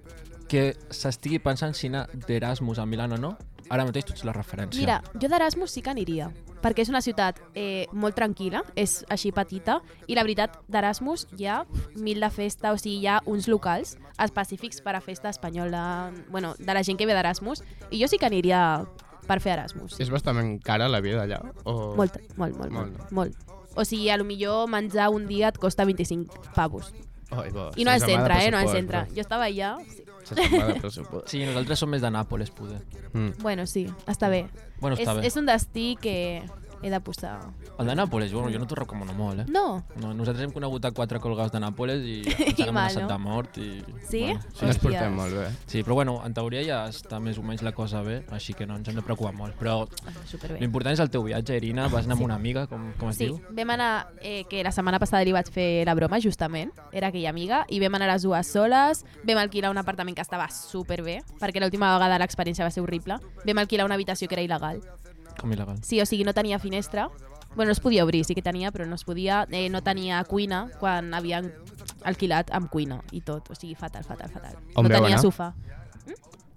[SPEAKER 13] que s'estigui pensant si anar d'Erasmus a Milán o no, ara mateix tu ets la referència.
[SPEAKER 8] Mira, jo d'Erasmus sí que aniria, perquè és una ciutat eh, molt tranquil·la, és així petita, i la veritat, d'Erasmus hi ha mil de festa, o sigui, hi ha uns locals específics per a festa espanyola, bueno, de la gent que ve d'Erasmus, i jo sí que aniria per fer Erasmus.
[SPEAKER 14] És bastant cara la vida allà? O...
[SPEAKER 8] Molt, molt, molt, molt, molt. O sigui, a lo millor menjar un dia et costa 25 pavos.
[SPEAKER 14] Ai, bo,
[SPEAKER 8] I no al
[SPEAKER 13] sense mà de
[SPEAKER 8] centre, eh? No al
[SPEAKER 13] pressupost,
[SPEAKER 8] centre.
[SPEAKER 13] no.
[SPEAKER 8] Jo estava allà... Sí.
[SPEAKER 13] Sí, nosaltres som més de Nàpoles, poder.
[SPEAKER 14] Mm.
[SPEAKER 8] Bueno, sí, està bé.
[SPEAKER 13] Bueno, està
[SPEAKER 8] és,
[SPEAKER 13] bé.
[SPEAKER 8] és un destí que he de posar...
[SPEAKER 13] El de Nàpoles, bueno, jo no t'ho recomano molt, eh?
[SPEAKER 8] No.
[SPEAKER 13] no nosaltres hem conegut a quatre colgaus de Nàpoles i ens
[SPEAKER 8] I
[SPEAKER 13] anem a
[SPEAKER 8] mal,
[SPEAKER 13] Santa
[SPEAKER 8] no?
[SPEAKER 13] Mort i...
[SPEAKER 8] Sí?
[SPEAKER 13] Bueno,
[SPEAKER 8] Sí, ens portem Hòsties. molt
[SPEAKER 2] eh?
[SPEAKER 14] bé.
[SPEAKER 13] Sí, però bueno, en teoria ja està més o menys la cosa bé, així que no ens hem de preocupar molt. Però
[SPEAKER 8] superbé.
[SPEAKER 13] l'important és el teu viatge, Irina. Vas anar amb una amiga, com, com es
[SPEAKER 8] Ah, Sí,
[SPEAKER 13] diu?
[SPEAKER 8] vam anar, eh, que la setmana passada li vaig fer la broma, justament, era aquella amiga, i vam anar les dues soles, vam alquilar un apartament que estava superbé, perquè l'última vegada l'experiència va ser horrible, vam alquilar una habitació que era il·legal.
[SPEAKER 13] Com il·legal.
[SPEAKER 8] Sí, o sigui, no tenia finestra, bueno, no es podia obrir, sí que tenia, però no es podia, eh, no tenia cuina quan havien alquilat amb cuina i tot, o sigui, fatal, fatal, fatal.
[SPEAKER 14] On
[SPEAKER 8] no
[SPEAKER 14] vau
[SPEAKER 8] tenia
[SPEAKER 14] anar?
[SPEAKER 8] sofà.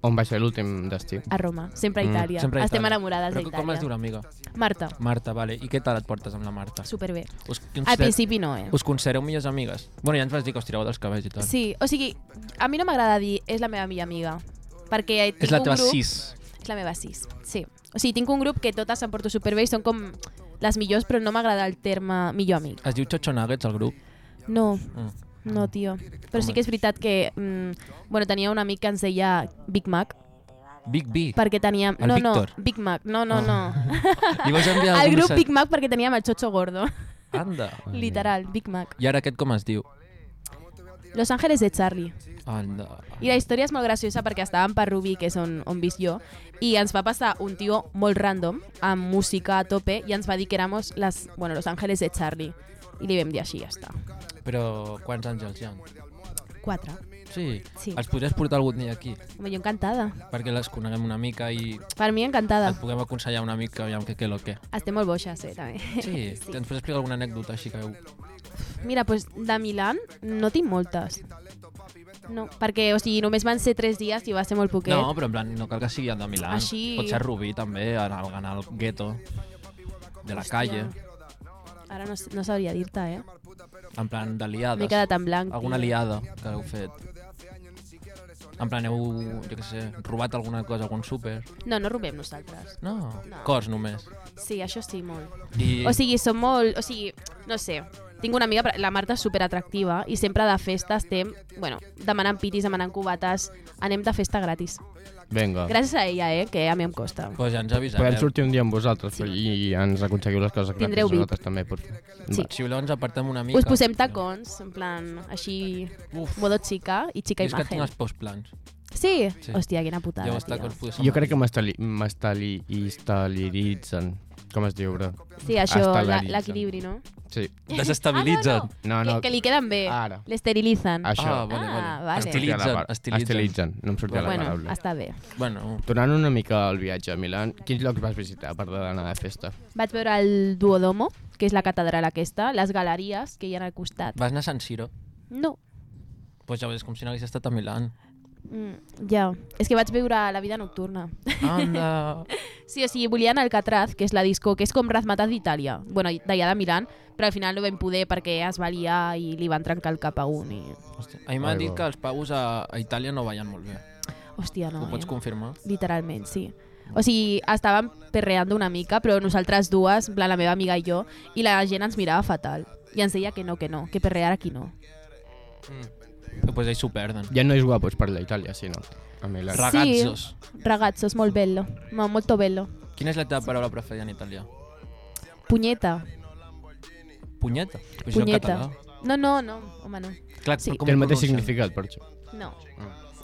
[SPEAKER 14] On va ser l'últim destí?
[SPEAKER 8] A Roma, sempre a
[SPEAKER 13] Mm,
[SPEAKER 8] Itàlia.
[SPEAKER 13] Sempre a
[SPEAKER 8] Estem
[SPEAKER 13] Itàlia.
[SPEAKER 8] enamorades
[SPEAKER 13] Però
[SPEAKER 8] d'Itàlia.
[SPEAKER 13] com es diu l'amiga?
[SPEAKER 8] Marta.
[SPEAKER 13] Marta, vale. I què tal et portes amb la Marta?
[SPEAKER 8] Superbé.
[SPEAKER 13] Us
[SPEAKER 8] Al principi no, eh?
[SPEAKER 13] Us considereu millors amigues? Bueno, ja ens vas dir que us tireu dels cabells i tal.
[SPEAKER 8] Sí, o sigui, a mi no m'agrada dir és la meva millor amiga, perquè tinc
[SPEAKER 13] la
[SPEAKER 8] un
[SPEAKER 13] teva
[SPEAKER 8] grup...
[SPEAKER 13] sis.
[SPEAKER 8] És la meva sis, sí. O sigui, tinc un grup que totes em porto superbé i són com les millors, però no m'agrada el terme millor amic.
[SPEAKER 1] Es diu Chocho Nuggets, el grup.
[SPEAKER 8] No,
[SPEAKER 1] Mm.
[SPEAKER 8] no, tio. Però sí que és veritat que... Mm, bueno, tenia un amic que ens deia Big Mac,
[SPEAKER 1] Big B.
[SPEAKER 8] perquè teníem...
[SPEAKER 1] El
[SPEAKER 8] no,
[SPEAKER 1] Víctor.
[SPEAKER 8] no, Big Mac, no, no,
[SPEAKER 1] Ah. Li
[SPEAKER 8] no.
[SPEAKER 1] vaig enviar
[SPEAKER 8] el
[SPEAKER 1] algun
[SPEAKER 8] grup
[SPEAKER 1] missatge.
[SPEAKER 8] Big Mac perquè teníem el Chocho Gordo.
[SPEAKER 1] Anda.
[SPEAKER 8] Literal, Big Mac.
[SPEAKER 1] I ara aquest com es diu?
[SPEAKER 8] Los Ángeles de Charlie.
[SPEAKER 1] Anda.
[SPEAKER 8] I la història és molt graciosa perquè estàvem per Rubí, que és on, on visc jo, i ens va passar un tio molt random, amb música a tope, i ens va dir que éramos les, bueno, Los Ángeles de Charlie. I li vam dir així, ja està.
[SPEAKER 1] Però quants àngels hi ha?
[SPEAKER 8] Quatre.
[SPEAKER 1] Sí.
[SPEAKER 8] Sí.
[SPEAKER 1] Els podries portar algun dia aquí,
[SPEAKER 8] Home, jo encantada.
[SPEAKER 1] perquè les coneguem una mica i
[SPEAKER 8] Per mi encantada.
[SPEAKER 1] et puguem aconsellar una mica aviam què què lo que.
[SPEAKER 8] Estem molt boixes, eh, també.
[SPEAKER 1] Sí, sí. ens pots explicar alguna anècdota així que...
[SPEAKER 8] Mira, doncs de Milan no tinc moltes. No, perquè, o sigui, només van ser tres dies i va ser molt poquet.
[SPEAKER 1] No, però en plan, no cal que sigui de Milà.
[SPEAKER 8] Així-
[SPEAKER 1] Pot ser Rubí, també, anar al, anar al gueto, de la calle,
[SPEAKER 8] Ara no, no sabria dir-te, eh?
[SPEAKER 1] en plan de liades.
[SPEAKER 8] M'he quedat en blanc,
[SPEAKER 1] Alguna
[SPEAKER 8] tio.
[SPEAKER 1] liada que heu fet. En plan, heu, jo què sé, robat alguna cosa, algun súper.
[SPEAKER 8] No, no robem nosaltres.
[SPEAKER 1] No. Cos, només.
[SPEAKER 8] Sí, això sí, molt.
[SPEAKER 1] I-
[SPEAKER 8] O sigui, som molt... O sigui, no sé, tinc una amiga, la Marta és superatractiva i sempre de festa estem, bueno, demanant pitis, demanant cubates, anem de festa gratis.
[SPEAKER 2] Vinga.
[SPEAKER 8] Gràcies a ella, eh, que a mi em costa.
[SPEAKER 1] Pues ja ens avisareu.
[SPEAKER 2] Podem sortir un dia amb vosaltres sí. i ens aconseguiu les coses gratis
[SPEAKER 8] Tindreu VIP.
[SPEAKER 2] vosaltres també, per favor.
[SPEAKER 8] Sí.
[SPEAKER 1] Si voleu ens apartem una mica.
[SPEAKER 8] Us posem tacons, en plan, així, Uf. modo xica i xica
[SPEAKER 1] Jo és que tinc
[SPEAKER 8] imagen.
[SPEAKER 1] els pocs plans.
[SPEAKER 8] Sí? sí? Hòstia, quina putada,
[SPEAKER 1] Llavors,
[SPEAKER 8] tio.
[SPEAKER 1] tacons potser
[SPEAKER 2] Jo crec que m'estali- m'estali- estaliritzen. Com es diu, bro?
[SPEAKER 8] Sí, això, la-
[SPEAKER 2] Estalaritzen.
[SPEAKER 8] l'equilibri, no?
[SPEAKER 2] Sí.
[SPEAKER 1] Desestabilitzen. Ah,
[SPEAKER 2] No, no.
[SPEAKER 8] Que li queden bé.
[SPEAKER 2] Ara.
[SPEAKER 8] L'esterilitzen.
[SPEAKER 2] Això.
[SPEAKER 8] Ah, vale.
[SPEAKER 2] Estilitzen,
[SPEAKER 1] estilitzen.
[SPEAKER 2] Estilitzen, no em sortia la
[SPEAKER 8] bueno,
[SPEAKER 2] paraula.
[SPEAKER 8] està bé.
[SPEAKER 1] Bueno.
[SPEAKER 2] Tornant una mica al viatge a Milán, quins llocs vas visitar a part de l'anar de festa?
[SPEAKER 8] Vaig veure el Duodomo, que és la catedral aquesta, les galeries que hi ha al costat.
[SPEAKER 1] Vas anar a San Siro.
[SPEAKER 8] No,
[SPEAKER 1] Pues ja veus, com si no hagués estat a Milán.
[SPEAKER 8] mm, ja. És que vaig viure la vida nocturna.
[SPEAKER 1] Anda.
[SPEAKER 8] sí, o sigui, volia anar al Catraz, que és la disco, que és com Razmataz d'Itàlia, bueno, d'allà de Milán, però al final no vam poder perquè es va liar i li van trencar el cap a un. I...
[SPEAKER 1] A mi m'han
[SPEAKER 8] Ai,
[SPEAKER 1] dit
[SPEAKER 8] va.
[SPEAKER 1] que els pavos a, a Itàlia no ballen molt bé.
[SPEAKER 8] Hòstia, no.
[SPEAKER 1] Ho pots confirmar?
[SPEAKER 8] Literalment, sí. O sigui, estàvem perreando una mica, però nosaltres dues, en plan, la meva amiga i jo, i la gent ens mirava fatal. I ens deia que no, que no, que perrear aquí no.
[SPEAKER 1] Doncs pues ells s'ho perden.
[SPEAKER 2] Hi ha nois guapos per la Itàlia, sí, no? A Milán.
[SPEAKER 8] Sí, ragazzos, molt bello. Ma, molto bello.
[SPEAKER 1] Quina és la teva paraula preferida en italià?
[SPEAKER 8] Punyeta,
[SPEAKER 1] Punyeta? Pues jo en
[SPEAKER 8] punyeta.
[SPEAKER 1] català.
[SPEAKER 8] No, no, no, home, no.
[SPEAKER 1] Clar,
[SPEAKER 8] sí.
[SPEAKER 1] però com
[SPEAKER 2] Té el
[SPEAKER 1] ho
[SPEAKER 2] mateix
[SPEAKER 1] pronuncien?
[SPEAKER 2] significat, per això.
[SPEAKER 8] No.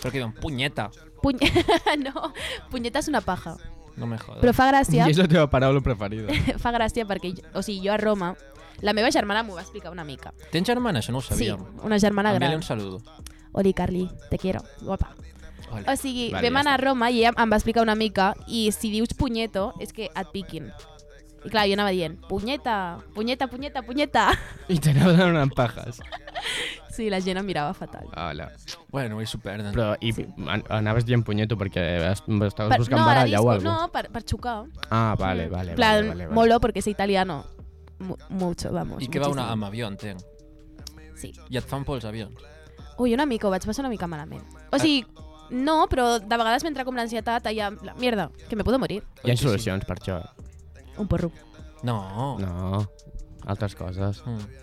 [SPEAKER 1] Però que diuen punyeta.
[SPEAKER 8] Puny... no, punyeta és una paja.
[SPEAKER 1] No me jodas.
[SPEAKER 8] Però fa gràcia.
[SPEAKER 2] I és la teva paraula preferida.
[SPEAKER 8] Fa gràcia perquè, jo, o sigui, jo a Roma, la meva germana m'ho va explicar una mica.
[SPEAKER 1] Tens germana? Això no ho
[SPEAKER 8] Sí,
[SPEAKER 1] sabíem.
[SPEAKER 8] una germana
[SPEAKER 1] Envia-li
[SPEAKER 8] gran.
[SPEAKER 1] un saludo.
[SPEAKER 8] Oli, Carly, te quiero, guapa.
[SPEAKER 1] Oli.
[SPEAKER 8] O sigui,
[SPEAKER 1] Vale,
[SPEAKER 8] vale, vam
[SPEAKER 1] ja
[SPEAKER 8] anar a Roma i ella em va explicar una mica i si dius punyeto és que et piquin. I clar, jo anava dient, punyeta, punyeta, punyeta, punyeta.
[SPEAKER 2] I t'anaven donant pajes.
[SPEAKER 8] Sí, la gent em mirava fatal.
[SPEAKER 2] Hola.
[SPEAKER 1] Bueno, ells s'ho perden.
[SPEAKER 2] Però i sí. anaves dient punyeto perquè es- estaves
[SPEAKER 8] Per-
[SPEAKER 2] buscant
[SPEAKER 8] no, a la
[SPEAKER 2] baralla o
[SPEAKER 8] disco,
[SPEAKER 2] alguna
[SPEAKER 8] No, per, per xocar.
[SPEAKER 2] Ah, vale, vale.
[SPEAKER 8] En
[SPEAKER 2] vale,
[SPEAKER 8] plan,
[SPEAKER 2] vale, vale.
[SPEAKER 8] molo porque es italiano. Mu- mucho, vamos.
[SPEAKER 1] I que va
[SPEAKER 8] muchísimo.
[SPEAKER 1] una, amb avió, entenc.
[SPEAKER 8] Sí.
[SPEAKER 1] I et fan por els avions.
[SPEAKER 8] Ui, una mica, ho vaig passar una mica malament.
[SPEAKER 1] Ah.
[SPEAKER 8] O sigui, no, però de vegades m'entra com l'ansietat allà, en plan, mierda, que me puedo morir.
[SPEAKER 2] Hi ha solucions per això.
[SPEAKER 8] Un porro.
[SPEAKER 1] No.
[SPEAKER 2] No, altres coses.
[SPEAKER 1] Mm.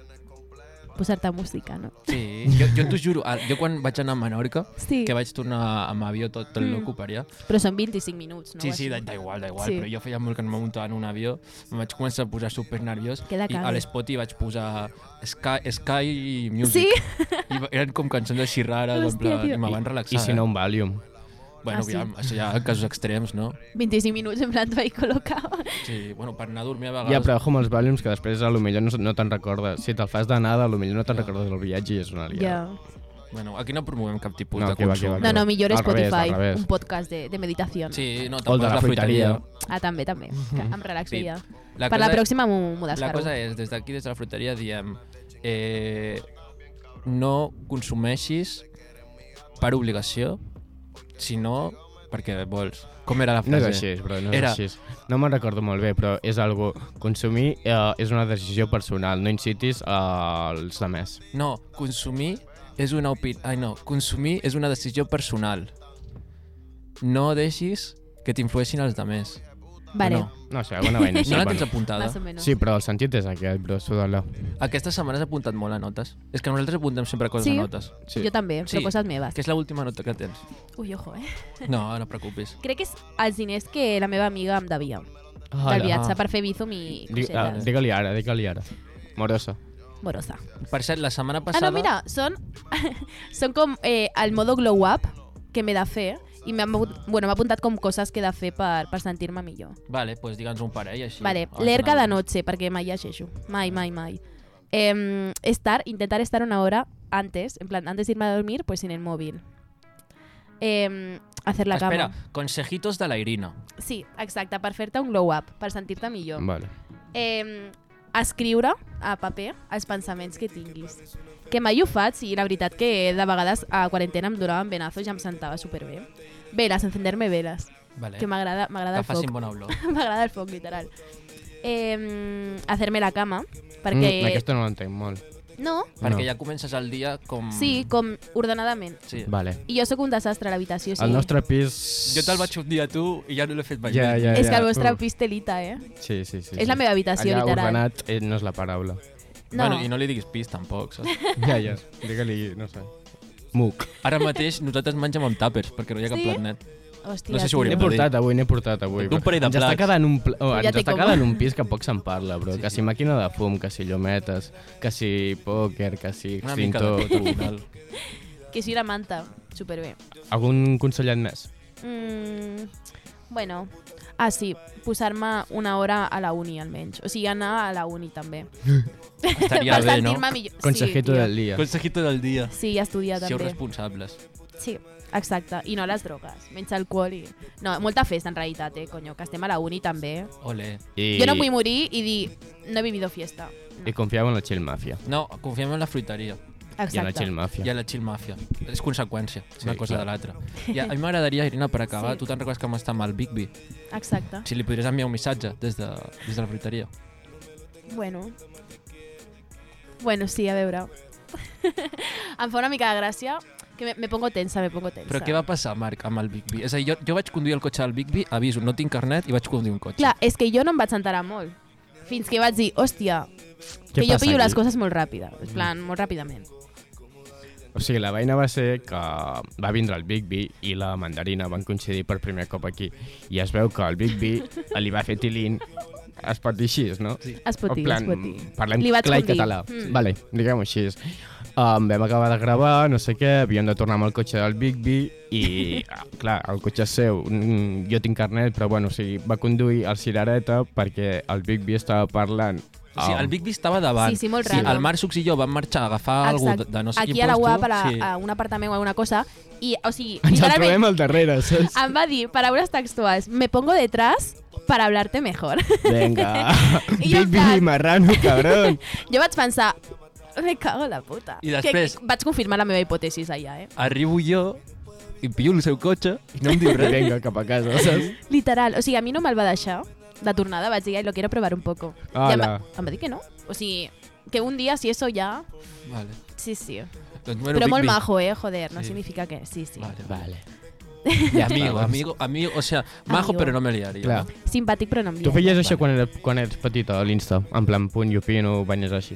[SPEAKER 8] Posar-te música, no?
[SPEAKER 1] Sí, jo, jo t'ho juro, al- jo quan vaig anar a Menorca,
[SPEAKER 8] Sí.
[SPEAKER 1] que vaig tornar amb avió tot, tot
[SPEAKER 8] Mm.
[SPEAKER 1] loco per allà,
[SPEAKER 8] Però són 25 minuts, no?
[SPEAKER 1] sí,
[SPEAKER 8] O
[SPEAKER 1] sí,
[SPEAKER 8] així.
[SPEAKER 1] da, da igual, da igual,
[SPEAKER 8] Sí.
[SPEAKER 1] sí. però jo feia molt que no me muntava en un avió, em vaig començar a posar super nerviós
[SPEAKER 8] Que de
[SPEAKER 1] i a
[SPEAKER 8] cague.
[SPEAKER 1] l'Spot hi vaig posar Sky, Sky Music.
[SPEAKER 8] Sí?
[SPEAKER 1] I va- eren com cançons així rares, en
[SPEAKER 8] Hòstia,
[SPEAKER 1] plan,
[SPEAKER 8] tio.
[SPEAKER 1] i me van relaxar.
[SPEAKER 2] I si
[SPEAKER 1] eh?
[SPEAKER 2] no, un Valium.
[SPEAKER 1] Bueno,
[SPEAKER 8] Ah, sí.
[SPEAKER 1] aviam, això ja casos extrems, no?
[SPEAKER 8] 25 minuts, en plan, tu ahí col·locava.
[SPEAKER 1] Sí, bueno, per anar a dormir a vegades...
[SPEAKER 2] Ja, però ojo amb els Valiums, que després a lo millor no, no te'n recordes. Si te'l fas d'anada, a lo millor no te'n recordes del viatge i és una liada.
[SPEAKER 8] Ja.
[SPEAKER 1] Bueno, aquí no promovem cap tipus
[SPEAKER 2] No,
[SPEAKER 1] de
[SPEAKER 2] aquí va,
[SPEAKER 1] consum.
[SPEAKER 2] aquí
[SPEAKER 8] No, no, millor
[SPEAKER 2] Al revés,
[SPEAKER 8] Spotify,
[SPEAKER 2] al revés.
[SPEAKER 8] un podcast de, de meditació.
[SPEAKER 1] Sí, no,
[SPEAKER 2] O el de
[SPEAKER 1] tampoc
[SPEAKER 2] la
[SPEAKER 1] la fruiteria.
[SPEAKER 8] Ah, també, també. Que Em relaxo
[SPEAKER 1] Sí.
[SPEAKER 8] ja.
[SPEAKER 1] La
[SPEAKER 8] per la
[SPEAKER 1] cosa-
[SPEAKER 8] pròxima m'ho m'ho
[SPEAKER 1] La
[SPEAKER 8] descargo.
[SPEAKER 1] cosa és, des d'aquí, des de la fruiteria, diem... Eh, no consumeixis per obligació, sinó perquè vols. Com era la
[SPEAKER 2] No
[SPEAKER 1] frase?
[SPEAKER 2] és així, però no és
[SPEAKER 1] era,
[SPEAKER 2] així. No me'n recordo molt bé, però és algo... Consumir eh, és una decisió personal, no incitis als demés.
[SPEAKER 1] No, consumir és una opinió... Ai, no, consumir és una decisió personal. No deixis que t'influeixin els demés.
[SPEAKER 8] Vale.
[SPEAKER 1] No.
[SPEAKER 2] No sé, alguna vaina així.
[SPEAKER 1] No la
[SPEAKER 2] bueno.
[SPEAKER 1] tens apuntada?
[SPEAKER 2] Sí, però el sentit és aquest, bro, suda-la.
[SPEAKER 1] Aquesta setmana has apuntat molt a notes. És que nosaltres apuntem sempre coses
[SPEAKER 8] Sí?
[SPEAKER 1] a notes.
[SPEAKER 8] Sí. Jo també, però coses meves.
[SPEAKER 1] Que és l'última nota que tens.
[SPEAKER 8] Ui, ojo, eh?
[SPEAKER 1] No, no et preocupis.
[SPEAKER 8] Crec que és els diners que la meva amiga em devia.
[SPEAKER 2] Hola. Ah,
[SPEAKER 8] Del viatge per fer bizum i
[SPEAKER 2] Di- ah,
[SPEAKER 8] cosetes.
[SPEAKER 2] Digue-li ara, digue-li ara. Morosa.
[SPEAKER 8] Morosa.
[SPEAKER 1] Per cert, la setmana
[SPEAKER 8] Ah,
[SPEAKER 1] passada...
[SPEAKER 8] no, mira, són, són com eh, el modo glow up que m'he de fer i m'ha bueno, m'ha apuntat com coses que he de fer per, per sentir-me millor.
[SPEAKER 1] Vale, doncs pues digue'ns un parell així.
[SPEAKER 8] Sí, vale,
[SPEAKER 1] abans
[SPEAKER 8] leer cada
[SPEAKER 1] d'anar.
[SPEAKER 8] noche, perquè mai llegeixo. Mai, mai, mai. Eh, estar, intentar estar una hora antes, en plan, antes de irme a dormir, pues sin el móvil. Eh, hacer la
[SPEAKER 1] Ah, Espera,
[SPEAKER 8] cama.
[SPEAKER 1] consejitos de la Irina.
[SPEAKER 8] Sí, exacte, per fer-te un glow up, per sentir-te millor.
[SPEAKER 1] Vale.
[SPEAKER 8] Eh, escriure a paper els pensaments que tinguis. Que mai ho faig i la veritat que de vegades a quarantena em donaven benazos i em sentava superbé. Veles, encender-me veles.
[SPEAKER 1] Vale.
[SPEAKER 8] Que m'agrada m'agrada
[SPEAKER 1] Que
[SPEAKER 8] el foc.
[SPEAKER 1] facin bona olor.
[SPEAKER 8] m'agrada el foc, literal. Eh, hacer-me la cama, perquè...
[SPEAKER 2] Mm, aquesta no l'entenc molt.
[SPEAKER 8] No?
[SPEAKER 1] Perquè
[SPEAKER 2] No.
[SPEAKER 1] ja comences el dia com...
[SPEAKER 8] Sí, com ordenadament.
[SPEAKER 1] Sí.
[SPEAKER 2] Vale.
[SPEAKER 8] I jo sóc un desastre a l'habitació, sí.
[SPEAKER 2] El nostre pis...
[SPEAKER 1] Jo te'l vaig un dia a tu i ja no l'he fet mai.
[SPEAKER 2] Ja,
[SPEAKER 1] més.
[SPEAKER 2] ja,
[SPEAKER 8] És que el
[SPEAKER 2] ja.
[SPEAKER 8] vostre
[SPEAKER 2] Uf.
[SPEAKER 8] pis telita, eh?
[SPEAKER 2] Sí, sí, sí.
[SPEAKER 8] És la
[SPEAKER 2] sí.
[SPEAKER 8] meva habitació,
[SPEAKER 2] Allà,
[SPEAKER 8] literal.
[SPEAKER 2] ordenat eh, no és la paraula.
[SPEAKER 8] No. Bueno, i
[SPEAKER 1] no li diguis pis, tampoc, saps?
[SPEAKER 2] ja, ja. Digue-li, no sé. Muc.
[SPEAKER 1] Ara mateix nosaltres mengem amb tàpers, perquè no hi ha cap
[SPEAKER 8] Sí?
[SPEAKER 1] plat net.
[SPEAKER 8] Hòstia,
[SPEAKER 1] no sé si
[SPEAKER 8] tio.
[SPEAKER 1] ho hauríem
[SPEAKER 2] N'he
[SPEAKER 1] de dir.
[SPEAKER 2] portat avui, n'he portat avui.
[SPEAKER 1] Un parell de
[SPEAKER 2] Ens està
[SPEAKER 1] plats.
[SPEAKER 2] quedant un, pl... oh,
[SPEAKER 8] Ja
[SPEAKER 2] ens
[SPEAKER 8] té
[SPEAKER 2] està
[SPEAKER 8] com.
[SPEAKER 2] quedant un pis que poc se'n parla, bro. que si màquina de fum, que si llumetes, que si pòquer, que si
[SPEAKER 1] Una mica de
[SPEAKER 2] extintor...
[SPEAKER 1] tot, al final.
[SPEAKER 8] Que soy una manta, superbé.
[SPEAKER 2] Algun consellet més?
[SPEAKER 8] Mm, bueno, ah, sí, posar-me una hora a la uni, almenys. O sigui, anar a la uni, també.
[SPEAKER 1] Estaria
[SPEAKER 8] Per
[SPEAKER 1] bé, no?
[SPEAKER 8] sentir-me millor. Sí,
[SPEAKER 2] Consejito
[SPEAKER 8] tio.
[SPEAKER 2] del dia.
[SPEAKER 1] Consejito del dia.
[SPEAKER 8] Sí, i estudiar,
[SPEAKER 1] Sieu
[SPEAKER 8] també.
[SPEAKER 1] responsables.
[SPEAKER 8] Sí, exacte. I no les drogues, menys alcohol i... No, molta festa, en realitat, eh, conyo, que estem a la uni, també.
[SPEAKER 1] Ole.
[SPEAKER 2] I...
[SPEAKER 8] Jo no vull morir i dir, no he vivido fiesta.
[SPEAKER 2] I confiava en la chill mafia.
[SPEAKER 1] No, confiem en la fruiteria.
[SPEAKER 8] Exacte. I en la chill
[SPEAKER 2] mafia.
[SPEAKER 1] I en la chill mafia. És conseqüència, sí, una cosa
[SPEAKER 2] clar.
[SPEAKER 1] de l'altra. I a, a mi m'agradaria, Irina, per acabar,
[SPEAKER 8] Sí.
[SPEAKER 1] tu te'n recordes que vam estar amb el Bigby?
[SPEAKER 8] Exacte.
[SPEAKER 1] Si li podries enviar un missatge des de, des de la fruiteria.
[SPEAKER 8] Bueno. Bueno, sí, a veure. em fa una mica de gràcia que me, me pongo tensa, me pongo tensa.
[SPEAKER 1] Però què va passar, Marc, amb el Bigby? És a dir, jo, jo vaig conduir el cotxe del Bigby, aviso, no tinc carnet, i vaig conduir un cotxe.
[SPEAKER 8] Clar, és que jo no em vaig enterar molt. Fins que vaig dir, hòstia,
[SPEAKER 2] Què
[SPEAKER 8] que jo
[SPEAKER 2] passa aquí?
[SPEAKER 8] pillo
[SPEAKER 2] Mm.
[SPEAKER 8] les coses molt ràpida. En plan, molt ràpidament.
[SPEAKER 2] O sigui, la veïna va ser que va vindre el Bigby i la mandarina van coincidir per primer cop aquí. I es veu que el Bigby li va fer tilín es pot dir així, no? Sí.
[SPEAKER 8] Es pot dir,
[SPEAKER 2] en plan,
[SPEAKER 8] es pot dir.
[SPEAKER 2] Parlem
[SPEAKER 8] Li vaig
[SPEAKER 2] clar i
[SPEAKER 8] condir.
[SPEAKER 2] català.
[SPEAKER 8] Mm.
[SPEAKER 2] Mm. Vale, diguem-ho així. Um, vam acabar de gravar, no sé què, havíem de tornar amb el cotxe del Bigby i, ah, clar, el cotxe és seu. Mm, jo tinc carnet, però bueno, o sigui, va conduir el Cirereta perquè el Bigby estava parlant
[SPEAKER 1] O sigui, el Bigby estava davant.
[SPEAKER 8] Sí, sí, molt
[SPEAKER 1] sí,
[SPEAKER 8] raro.
[SPEAKER 1] el Marc Sucs i jo vam marxar a agafar algú de, de no sé
[SPEAKER 8] Aquí
[SPEAKER 1] quin
[SPEAKER 8] a la
[SPEAKER 1] puesto.
[SPEAKER 8] UAP, a, la,
[SPEAKER 1] sí.
[SPEAKER 8] a un apartament o alguna cosa, i, o sigui,
[SPEAKER 2] Ens el
[SPEAKER 8] literalment,
[SPEAKER 2] trobem al darrere, saps?
[SPEAKER 8] em va dir paraules textuals, me pongo detrás para hablarte mejor.
[SPEAKER 2] Venga,
[SPEAKER 8] I jo en
[SPEAKER 2] Bigby, marrano, cabrón.
[SPEAKER 8] jo vaig pensar, me cago en la puta.
[SPEAKER 1] I després-
[SPEAKER 8] Que, que vaig confirmar la meva hipòtesis allà, eh?
[SPEAKER 1] Arribo jo i pillo el seu cotxe i no em diu res.
[SPEAKER 2] Vinga, cap a casa, saps?
[SPEAKER 8] Literal, o sigui, a mi no me'l va deixar de tornada, vaig dir, "Ai, lo quiero probar un poco. I em va,
[SPEAKER 1] Ala.
[SPEAKER 8] em va dir que no. O sigui, que un dia, si eso ya...
[SPEAKER 1] Vale.
[SPEAKER 8] Sí, sí.
[SPEAKER 1] Doncs,
[SPEAKER 8] Però, molt
[SPEAKER 1] Bigby.
[SPEAKER 8] majo, eh? Joder, no
[SPEAKER 1] Sí.
[SPEAKER 8] significa que... Sí, sí.
[SPEAKER 1] Vale, vale. I amigo, amigo, amigo, o sea, majo
[SPEAKER 8] Amigo.
[SPEAKER 1] però no me liaria.
[SPEAKER 2] Clar.
[SPEAKER 8] Simpàtic, però no em
[SPEAKER 2] Tu
[SPEAKER 8] liaria.
[SPEAKER 2] feies això quan, era, quan eres petita a l'Insta? En plan, punt, llupino, banyes així.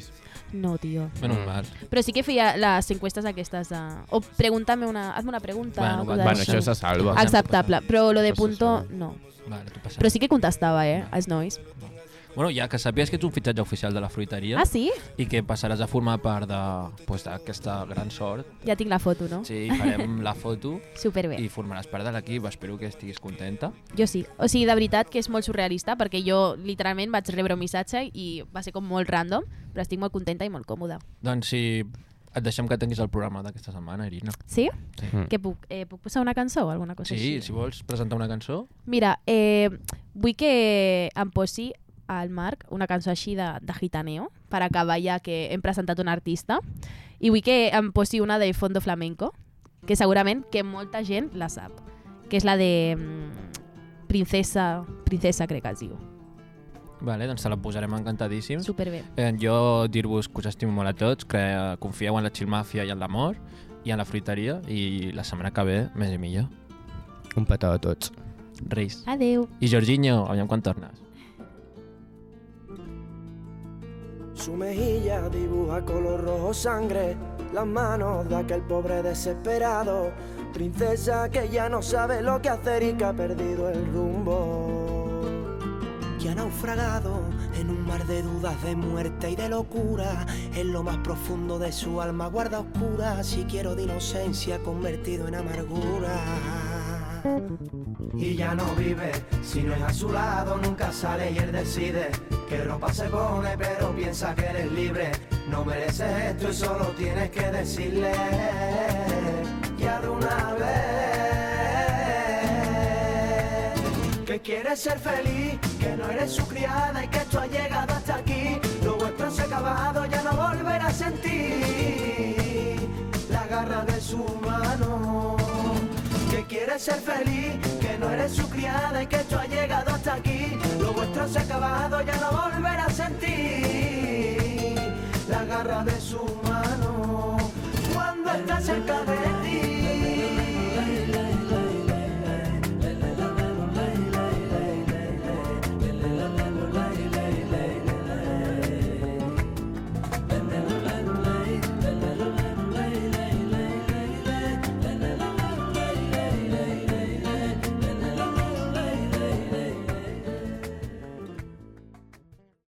[SPEAKER 8] No, tio.
[SPEAKER 1] Menos
[SPEAKER 2] Mm.
[SPEAKER 1] mal.
[SPEAKER 8] Però sí que feia les enquestes aquestes de... O pregunta'm una... Hazme una pregunta.
[SPEAKER 2] Bueno,
[SPEAKER 8] o
[SPEAKER 2] va-
[SPEAKER 8] coses
[SPEAKER 2] bueno,
[SPEAKER 8] així.
[SPEAKER 2] això se salva.
[SPEAKER 8] Acceptable. Però lo de
[SPEAKER 1] eh, Això se
[SPEAKER 8] punto,
[SPEAKER 1] salva.
[SPEAKER 8] no.
[SPEAKER 1] Vale, tu passaràs.
[SPEAKER 8] Però sí que contestava, eh? Els nois.
[SPEAKER 1] Bueno, ja que sapies que ets un fitxatge oficial de la fruiteria.
[SPEAKER 8] Ah, sí?
[SPEAKER 1] I que passaràs a formar part de- pues, d'aquesta pues, gran sort.
[SPEAKER 8] Ja tinc la foto, no?
[SPEAKER 1] Sí, farem la foto.
[SPEAKER 8] Superbé.
[SPEAKER 1] I formaràs part de l'equip. Espero que estiguis contenta.
[SPEAKER 8] Jo sí. O sigui, de veritat que és molt surrealista perquè jo literalment vaig rebre un missatge i va ser com molt random, però estic molt contenta i molt còmoda.
[SPEAKER 1] Doncs si et deixem que tanquis el programa d'aquesta setmana, Irina.
[SPEAKER 8] Sí?
[SPEAKER 1] Sí.
[SPEAKER 8] Que puc, eh, puc posar una cançó o alguna cosa
[SPEAKER 1] Mm-hmm. Sí,
[SPEAKER 8] així?
[SPEAKER 1] si vols presentar una cançó.
[SPEAKER 8] Mira, eh, vull que em posi al Marc una cançó així de, de gitaneo per acabar ja que hem presentat un artista i vull que em posi una de Fondo Flamenco que segurament que molta gent la sap que és la de mm, Princesa, Princesa crec que es diu
[SPEAKER 1] Vale, doncs te la posarem encantadíssims.
[SPEAKER 8] Superbé.
[SPEAKER 1] Eh, jo dir-vos que us estimo molt a tots, que eh, confieu en la xilmàfia i en l'amor i en la fruiteria i la setmana que ve més i millor.
[SPEAKER 2] Un petó a tots.
[SPEAKER 13] Reis.
[SPEAKER 12] Adeu.
[SPEAKER 13] I Jorginho, aviam quan tornes.
[SPEAKER 9] Su mejilla dibuja color rojo sangre, las manos de aquel pobre desesperado, princesa que ya no sabe lo que hacer y que ha perdido el rumbo.
[SPEAKER 6] Que ha naufragado en un mar de dudas, de muerte y de locura. En lo más profundo de su alma guarda oscura, si quiero de inocencia convertido en amargura.
[SPEAKER 9] Y ya no vive, si no es a su lado nunca sale y él decide qué ropa se pone, pero piensa que eres libre. No mereces esto y solo tienes que decirle ya de una vez que quieres ser feliz, que no eres su criada y que esto ha llegado hasta aquí. Lo vuestro se ha acabado, ya no volverá a sentir la garra de su mano. Que quieres ser feliz, que no eres su criada y que esto ha llegado hasta aquí. Lo vuestro se ha acabado, ya no volverá a sentir